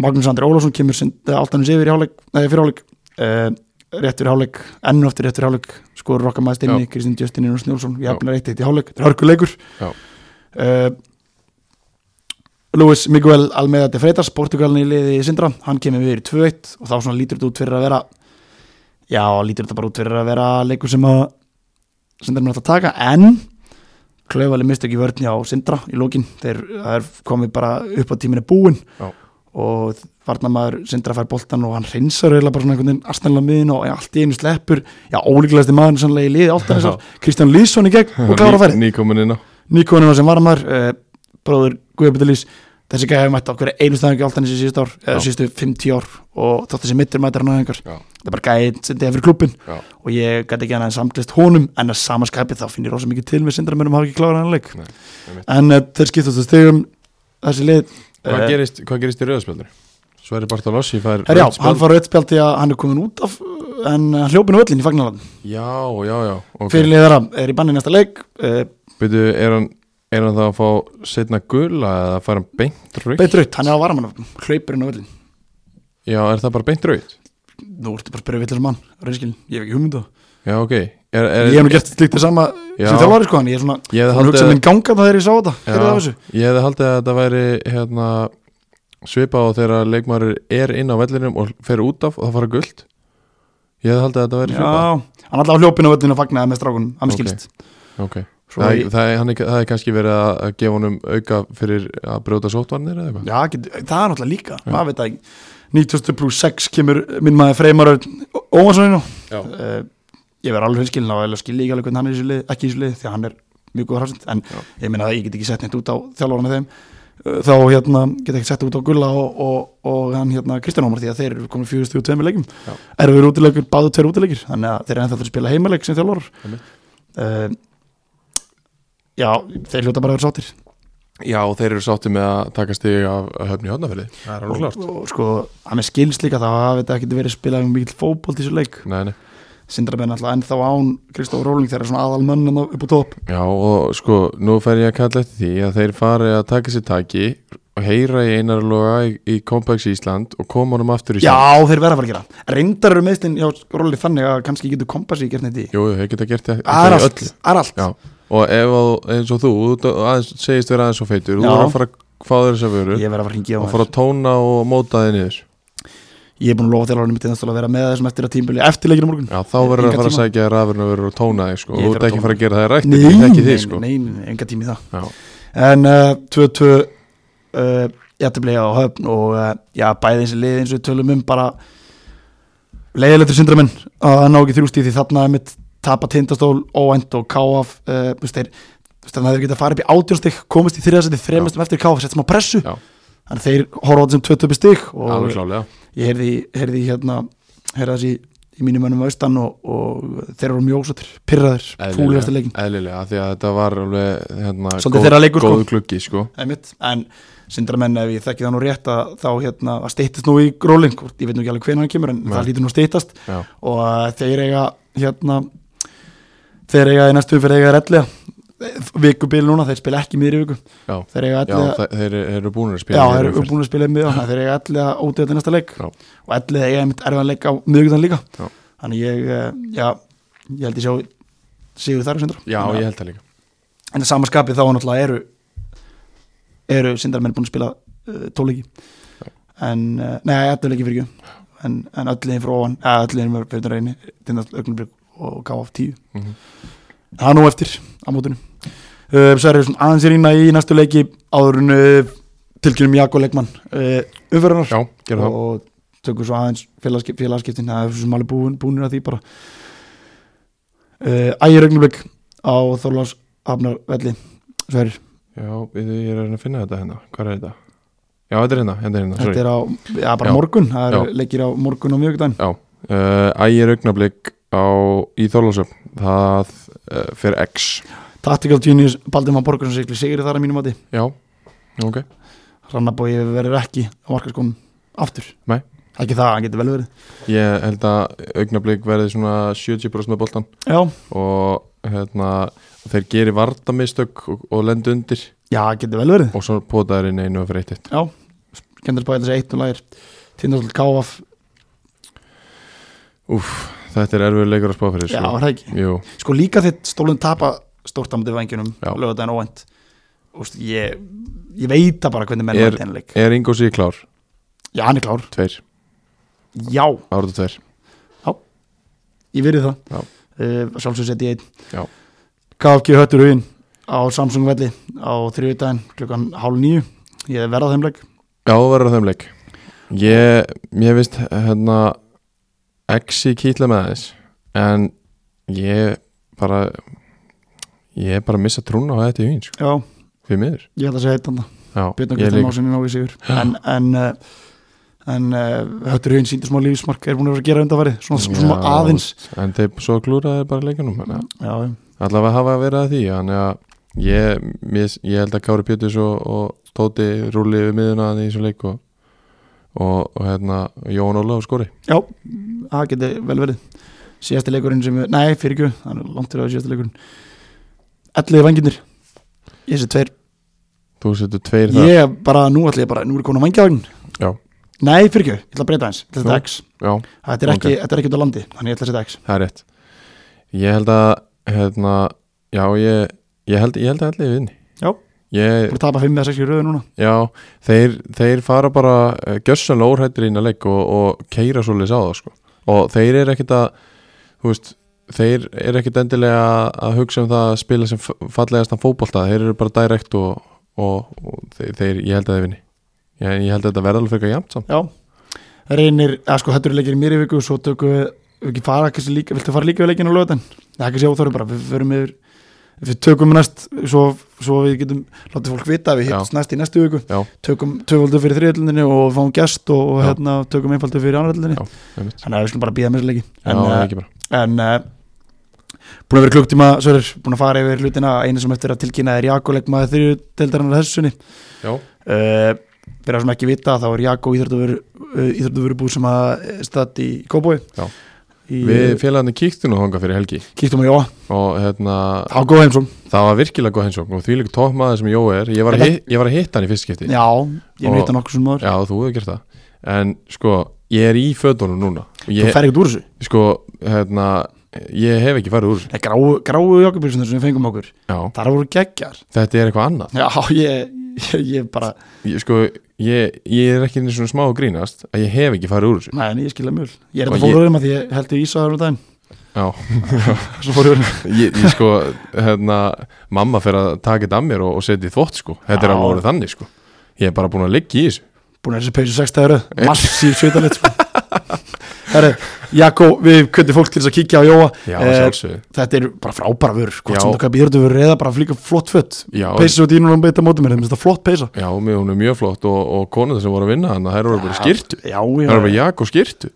A: Magnús Andri Ólafsson kemur sindri Altanis yfir í hálfleik nei, fyrir hálfleik uh, réttur í hálfleik enn og aftur réttur í hálfleik skorur okkar maður stinni, Kristinn Justin Jónas Njólfsson jafnar eitt eitt í hálfleik, þetta er hörkuleikur
B: Já.
A: uh, Luis Miguel Almeida de Freitas Portugalin í liði sindra, hann kemur yfir í 2-1 og þá svona lítur þetta út fyrir að vera já, lítur þetta bara út fyrir að vera leikur sem að sindra mér að taka, en klaufali mistu ekki vörðni á Sindra í lókin þeir það er komið bara upp á tíminni búin
B: Já.
A: og varnamaður Sindra fær boltan og hann hreinsar eiginlega bara svona einhvern veginn astanlega miðin og allt í einu sleppur já, ólíklegasti maður sannlega í liði
B: Já.
A: áltanisar Kristján Lýsson í gegn og klára færi
B: Nýkomin inn á
A: Nikonina sem varmaður uh, bróður Guðbjörnlís þessi gæði hefur mætt á hverju einu staðingi áltanis í síðustu ár eða
B: Já.
A: síðustu 50 ár og þótt þessi mittur mættir hann á einhver
B: Já,
A: það er bara gæði sem þetta er fyrir klubbin
B: já,
A: og ég gæti ekki hann að samtlist honum en að samaskæpi þá finn ég rosa mikið til með sindramönum hafa ekki klárað hann leik
B: Nei, einmitt.
A: en uh, þeir skiptast stegum þessi lið
B: hvað
A: Eh,
B: gerist, hvað gerist í rauðspjaldur? Sverri Bartolossi fær
A: herra,
B: rautt
A: já, hann
B: spjald.
A: fór rauðspjaldi að hann er komin út af uh, en hann hljópinu völlin í fagnalann okay.
B: Já, já, já okay.
A: fyrirlið þeirra er í banni í næsta leik uh,
B: Byrju, er hann, er hann þá að fá setna gula eða fær hann beint rauð?
A: beint rautt, hann er á varamann hlaupurinn á völlin
B: Já, er það bara beint rauð?
A: nú ertu bara að spyrja villasum mann reynskilin, ég hef ekki hugmynda
B: Já, ok er, er,
A: ég hef nú gert slíkt það sama
B: Já.
A: sem þjálfari sko, en ég er svona
B: Ég hefði
A: hún
B: haldið-
A: hugsa minn ganga það þegar ég sá þetta fyrir það
B: já,
A: þessu
B: Ég hefði haldið að þetta væri hérna, svipað á þegar leikmaður er inn á vellinum og fer út af og það fara gult Ég hefði haldið að þetta væri svipað
A: já, hann alltaf hljópinu völlin og fagnaði með strákunum, hann
B: Ok.
A: skilst
B: okay.
A: Svo
B: Það,
A: ég-
B: það, er, hann er, það er kannski verið að að gefa honum auka fyrir að brjóta sótvarnir eða eitthvað?
A: Já, get, það er náttúrulega líka, maður veit það ekki 90 pluss 6 kemur minn maður Freymar Örn Óvarssoninu
B: Já.
A: uh, Ég verð alveg hinskilin á eða skilja ekki alveg hvernig hann er í þessu lið, ekki í þessu lið því að hann er mjög góð hafsend, en
B: Já.
A: ég meina að ég get ekki sett neitt út á þjálfarana með þeim Uh, þá hérna, get ekki sett út á Gulla og, og, og hann hérna Kristján Ómar því að þeir eru komin fjögustu og tveimur leikum
B: Já.
A: erfiður útilegur, báðu tveir útilegir þannig að þeir eru ennþá að spila heimaleik sem þjálfarar
B: Einmitt.
A: uh, Já, þeir hljóta bara að vera sáttir
B: Já, og þeir eru sátti með að taka stig af af höfni hodnafili Það er
A: og, og sko, hann er skilst líka þá hafi þetta ekkert verið spilað um mikill fótbolt í þessu leik
B: Nei, nei.
A: Sindrabenn alltaf ennþá án Kristóf Róling þegar er svona aðal mönnum upp á topp
B: Já, og sko, nú fer ég að kalla eftir því að þeir fari að taka sér taki og heyra í einarloga í, í Kompaks Ísland og koma honum aftur í
A: Já, þeir verða að fara að gera Reyndar eru meðslinn hjá Róling þannig að kannski getur kompassi gert neitt í
B: Jú, jú, þeir geta gert það
A: Það er
B: í
A: allt, það er allt.
B: Já, og ef að, eins og þú, þú aðeins, segist vera aðeins og feitur,
A: Já.
B: þú voru að fara að fá þér þess að veru
A: Ég verða að fara að hringja á
B: og fara að tóna og móta þig niður
A: hann. ég er búin að lofa þjálfarnir mitt að vera með þessum eftir að tímbili eftirleikinu morgun
B: Já, þá verður að
A: Engan
B: fara að
A: tíma.
B: sækja rafurinn og verður að tóna þig
A: Ég
B: sko og þú
A: fer
B: ert
A: að
B: ekki að
A: tóna.
B: fara að gera það rætt
A: Nei,
B: ég
A: nei,
B: þekki þig
A: nei,
B: sko
A: nei, nei, enga tími í það
B: Já,
A: en uh, 2-2 uh, jættibli á höfn og uh, já, bæði eins og liði eins og við tölum um bara leiðilegt fyrir syndramenn að ná ekki þrjústíð því þarna er mitt tapa tindastól óænt og káaf uh, þú veist, þeir þú veist, þannig að þeir geta að fara upp í átjónstík komist í þriðarsæti þremastum eftir káaf sett smá pressu
B: Já.
A: þannig að þeir horfa á þetta sem 22 stík og
B: alveg klálega
A: ég heyrði, heyrði í hérna heyrði þessi í mínum önum austan og, og þeir eru mjósatir, pirraðir, fúlir eftir leikin
B: Eðlilega, af því að þetta var alveg hérna,
A: Svolítið þeirra leikur, sko.
B: góð gluggi sko
A: einmitt, en sindramenn ef ég þekki það nú rétt að þá hérna að stýttist nú í gróling, hvort- ég veit nú ekki alveg hvenær hann kemur en
B: Nei.
A: það lítur nú að stýttast
B: Já,
A: og uh, þeir eiga hérna þeir eiga í næstu fyrir eiga rellega vikubili núna, þeir spila ekki miðri viku
B: já,
A: þeir eiga
B: já
A: ellega,
B: þeir, þeir eru búin að
A: já,
B: spila
A: þeir
B: í
A: eru
B: umferð.
A: búin að spila miðan, þeir eiga ellega ótið til næsta leik
B: Já.
A: og ellega eiga einmitt erfan leik á miðvíkutan líka
B: Já.
A: þannig ég, uh, já, ég held ég sjá sigur þar á sindra
B: Já, ég held það líka
A: en það sama skapið þá náttúrulega eru eru sindarmenn búin að spila uh, tóleiki en, uh, nei, allir leiki fyrir ekki en, en ölliðin frá ofan, eða ölliðin fyrir fyrir reyni tindast augnublik og káf tíu
B: mm
A: það er nú eftir á mótunum uh, Sverjur svona aðeins er ína í næstu leiki áðurinn uh, tilkynum Jakob Leikmann uh, umferðanar
B: Já, gera það
A: og tökum svo aðeins félagskip, félagskiptin það er svo sem alveg búin, búinir að því bara uh, ægir augnublik á Þorlás Hafnar velli Sverjur,
B: Já, við, ég er að reyna að finna þetta hérna Hvað er þetta? Já, þetta er hérna, hérna, er hérna sorry.
A: þetta er á já, bara
B: Já.
A: morgun, það
B: Já.
A: er leikir á morgun og mjögudaginn
B: Já, uh, ægir augnablik á, í Þorlásöf það uh, fer X
A: Tactical Genius, Baldur Van Borgarsson sigli sigri þar að mínum mati,
B: Já, ok
A: Rannabói verður ekki á markaskonum aftur
B: Nei.
A: ekki það, hann getur vel verið
B: Ég held að augnablik verði svona 70% af boltan
A: já,
B: og hérna þeir geri vardamistök og, og lendu undir
A: já getur vel verið
B: og svo potaður inn einu og fyrir eitt eitt
A: já, kendur spæði þessi eitt og lægir Tindastóll Káaf,
B: Þetta er erfiður leikur að spá fyrir
A: já,
B: sko.
A: er það ekki
B: Jú,
A: sko líka þitt stólinn tapa stórt á mútið vengjunum,
B: Já.
A: lögðaðin óvænt Úst, ég, ég veit það bara hvernig menn
B: Er-
A: er, leik.
B: er Ingo síði klár?
A: já, hann er klár,
B: Tveir,
A: já
B: áratu tveir
A: ég verið það
B: Já.
A: uh, sjálfsög seti ég
B: Já.
A: einn KFG höttur huginn á Samsung velli á þriðudaginn klukkan hálf nýju ég verða þeim leik
B: Já, það verður á þeim leik Ég, ég veist hérna Exi kýtla með þess en ég bara ég er bara að missa trúna á þetta í vín sko,
A: já,
B: fyrir miður
A: ég ætla að segja eitt annað
B: Já,
A: Björn og
B: ég
A: Kristján
B: líka
A: Másinni náðu í sigur en, en, uh, en uh, höttur huginn síndi smá lífsmark er búin að vera að gera undanfarið svona,
B: Já,
A: svona aðeins
B: En þeir svo glúraði bara leikunum þannig að
A: já, já.
B: allavega hafa verið að því þannig að ég, ég, ég held að Kári Péturs og, og Tóti rúli við miðuna þannig í þessum leik og, og, og hérna Jón Ólaf skori
A: Já, það getur vel verið síðasti leikurinn sem, við- nei fyrir ekki það er langt fyrir að síðasti leikurinn Elliði vanginir Ég sé tveir,
B: þú setur tveir þar
A: ég bara, nú ætla ég bara nú er komin að vangjavagn
B: Já.
A: Nei fyrir ekki, ég ætla að breyta hans, þetta
B: Nú.
A: er X
B: Já,
A: Þetta er ekki,
B: Ok.
A: þetta er ekki út á landi, þannig ég ætla að setja X
B: það er rétt ég held að hérna, já ég, ég held, ég held að allir vinni
A: Já.
B: ég,
A: Búin að tapa 5 eða 6 í röðu núna
B: já þeir, þeir fara bara eh, gjössanlega óhættir inn að leik og, og keira svolítið á það sko. og þeir eru ekkit að þú veist Þeir eru ekkit endilega að hugsa um það að spila sem f- fallegasta fótbolta Þeir eru bara direkt og, og, og þeir, þeir, ég held að þeir vinni Ég, ég held að þetta verða alveg fyrir jæmt samt
A: Já, reynir, eða sko þetta eru leikir í mér í viku svo tökum við, ef ekki fara kannski líka, viltu fara líka við leikinu á lögutan? Það er kannski óþóri bara, við förum yfir við tökum næst, svo, svo við getum látið fólk vita, að við
B: Já.
A: hittst næst í næstu viku
B: Já,
A: tökum tvöfaldu fyrir þriðallinu og fáum gest og, og
B: Já.
A: hérna, tökum einfaldu fyrir annaðallinu
B: Já, einmitt.
A: þannig að við skulum bara býða með þessu leiki
B: já,
A: en,
B: það
A: uh,
B: ekki bara
A: en uh, búin að vera klukktíma Sörir, búin að fara yfir hlutina einu sem eftir að tilkynna er Jakko leikmaði þriðdeldarinn að þessunni
B: Já,
A: uh, fyrir að sem ekki vita þá er Jakko íþjóttuveru búið sem að staðt í Kóbói
B: Já.
A: í,
B: Við félagarnir kíktum nú þangað fyrir helgi
A: kíktum á Jóa,
B: og hérna,
A: þá góð heimsum
B: það var virkilega góð hensjókn og því líka toppmaður sem Jó er ég var, að
A: En
B: hitt, ég var að hitta hann í fyrst skipti
A: já, ég hef
B: Og-
A: hitt hann okkur sem maður
B: Já, þú hefur gert það en sko, ég er í fötunum núna og
A: þú
B: ég,
A: fer ekkert úr þessu,
B: sko, hérna ég hef ekki farið úr þessu.
A: það er gráu, gráu jakkubilsunar sem við fengum okkur
B: Já,
A: þar voru geggjar
B: þetta er eitthvað annað
A: já, ég, ég, ég bara,
B: ég, sko, ég, ég er ekki einu svona smá að grínast að ég hef ekki farið úr þessu
A: næ, en ég skilja mjöl ég er
B: Og
A: þetta
B: ég-
A: fórhverjum að því ég held ég ísa þar um daginn
B: já,
A: svo fórhverjum
B: ég, ég sko hérna, mamma fer að taka þetta af mér og, og setja í þvott sko, þetta er
A: Já.
B: alveg orðið þannig sko ég er bara búin að liggja í þessu
A: búin að þessi peysu 6 tæru
B: Eh.
A: massíf svitalit sko. Herri, Jakko, við kvöndum fólk til þess að kíkja á Jóa
B: Já,
A: Eh,
B: sjálfsögðu.
A: þetta er bara frábæra vör
B: Já.
A: hvort sem þú kapið yrðu vör eða bara flíka flott fött
B: Já.
A: peysu og dýnur um beita móti mér, þetta er flott peysa
B: já, mér, hún er mjög flott og, og konur sem voru að vinna hann, það eru bara skýrtu
A: já,
B: það eru bara
A: já,
B: jak og skýrtu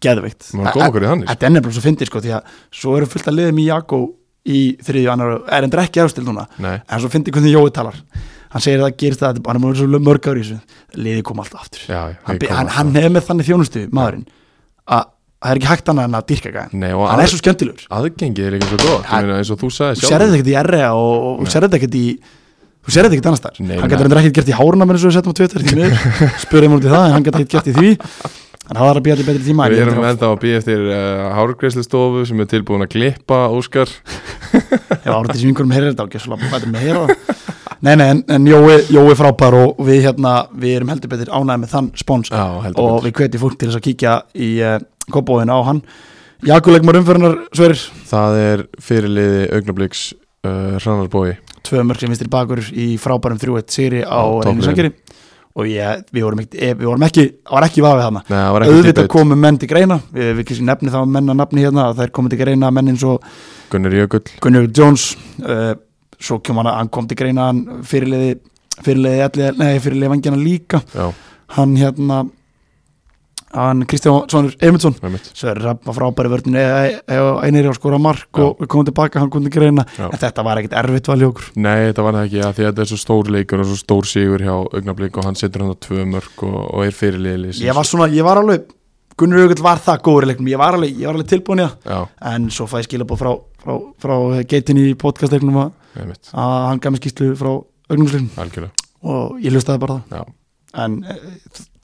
A: geðveikt
B: Maður kom okkur í þannig, sko.
A: þetta er nefnilega svo fyndið sko, því að svo eru fullt að liðum í Jakko í þriðju annar, er endur ekki efstil núna
B: Nei.
A: en svo fyndið hvernig Jói talar hann segir að það gerist það, hann er múin svo mörg ári í þessu liðið kom alltaf aftur
B: Já, já,
A: hann,
B: þeir koma
A: hann,
B: alltaf.
A: hann hefur með þannig þjónustu maðurinn að það er ekki hægt annað en að dýrka gæðan
B: Nei, og
A: hann
B: að-
A: er svo skemmtilegur
B: aðgengið er líka svo gott,
A: Ja.
B: ég meina eins og þú sagði
A: þú sér þetta ekkert í R.A. og, og þú sér þetta ekkert í þú sér þetta ekkert annars
B: Nei,
A: þar hann
B: nei.
A: getur endur ekkert gert í háruna minn eins og við settum á Twitter því miður spurðum hún til það en hann getur ekkert gert í því en það var að býja til betri tíma en
B: Við
A: ég
B: erum
A: heldur að-
B: ennþá að býja eftir uh, hárgreislistofu sem er tilbúin að klippa Óskar
A: ef árið þessi vingurum heyrir þetta ekki svolítið betur með að heyra það nei, nei, en, en Jói, Jói frábær og og við hérna, við erum heldur betur ánægð með þann spons
B: Já, heldur
A: og
B: betur.
A: við hvetjum fólk til þess að kíkja í uh, kobóðin á hann Jakulegmar umförunar sverir
B: Það er fyrirliði augnabliks uh, Hrannarbói
A: tvö mörg sem vinstir bakur í frábærum 3-1 sigri á
B: Já,
A: Reyni
B: toppliðinu.
A: Sangeri og ég, við vorum ekki, eh, við vorum ekki það var ekki vafið
B: Nei,
A: þarna
B: það var ekki
A: auðvitað
B: debate.
A: komu menn til greina við, við kannski nefni þá menna nafni hérna að þær komu til greina menn eins og
B: Gunnar Jökull
A: Gunnar Jones uh, svo kom hann, hann kom til greina hann fyrirliði fyrirliði, elli, nei, fyrirliði vangjana líka
B: Já,
A: hann hérna hann Kristján Svonur Eymundsson
B: það er mitt
A: Sverri Rapp var frábæri vörðin eh, einir á skora mark
B: Já.
A: og kom tilbaka, hann kom til greina
B: Já.
A: en þetta var ekkert erfitt valið okkur
B: Nei, þetta var það ekki að því að þetta er svo stór leikur og svo stór sigur hjá augnablík og hann setur hann að tvö mörg og, og er fyrirliði liðsins.
A: ég var svona, ég var alveg Gunnar Jökull var það góður í leiknum, ég var alveg, ég var alveg tilbúin í það
B: Já,
A: en svo fæ ég skilabóð frá, frá, frá geitin í podcastleiknum að
B: það er mitt,
A: að hann gaf mér skýslu frá augnumsleiknum
B: algjörlega
A: og ég hlustaði bara það
B: Já,
A: en e,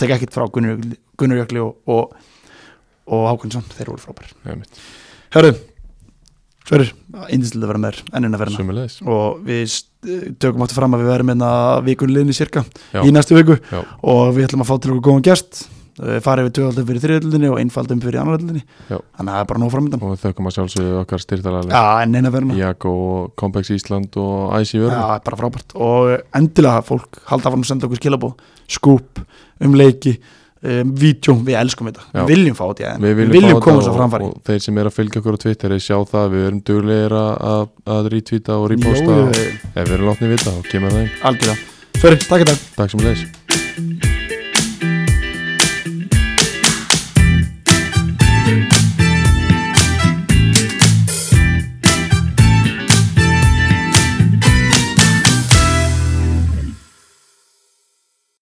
A: tek ekkert frá Gunnar Jökull- Gunnar Jökli og, og, og Hákonsson, þeir voru frábær
B: það er mitt,
A: Hörru, Sverrir, indislega að vera með þér ennina verðina
B: sömulegis
A: og við st- tökum áttu fram að við verðum hérna einna vikun liðni cirka
B: Já.
A: í næstu viku
B: Já,
A: og við ætlum að fá til okkur góðan gest eh, farið við tvöaldum fyrir þriðaldinni og einfaldum fyrir annaraldinni
B: Já.
A: þannig að það er bara nóg framöndan
B: og þau kom að sjálfsögðu okkar styrtalega
A: ja, en eina verðina
B: Jako og Compex Ísland og Æsi Vörn
A: Já, bara frábært og eh, endilega fólk halda að að senda okkur skilabóð skúp, um leiki um, vídjó, við elskum þetta,
B: Já.
A: við viljum fá þetta
B: Við viljum, fá
A: koma
B: þetta
A: þess að framfæri
B: og, og þeir sem er að fylgja okkur á Twitter þeir sjá það, við erum duglegir að, að, að retweeta og reposta
A: Jó,
B: og
A: jú, jú.
B: ef við erum látni vita þá kemur það einn,
A: algjörða, fyrir, takk í dag
B: takk sem leys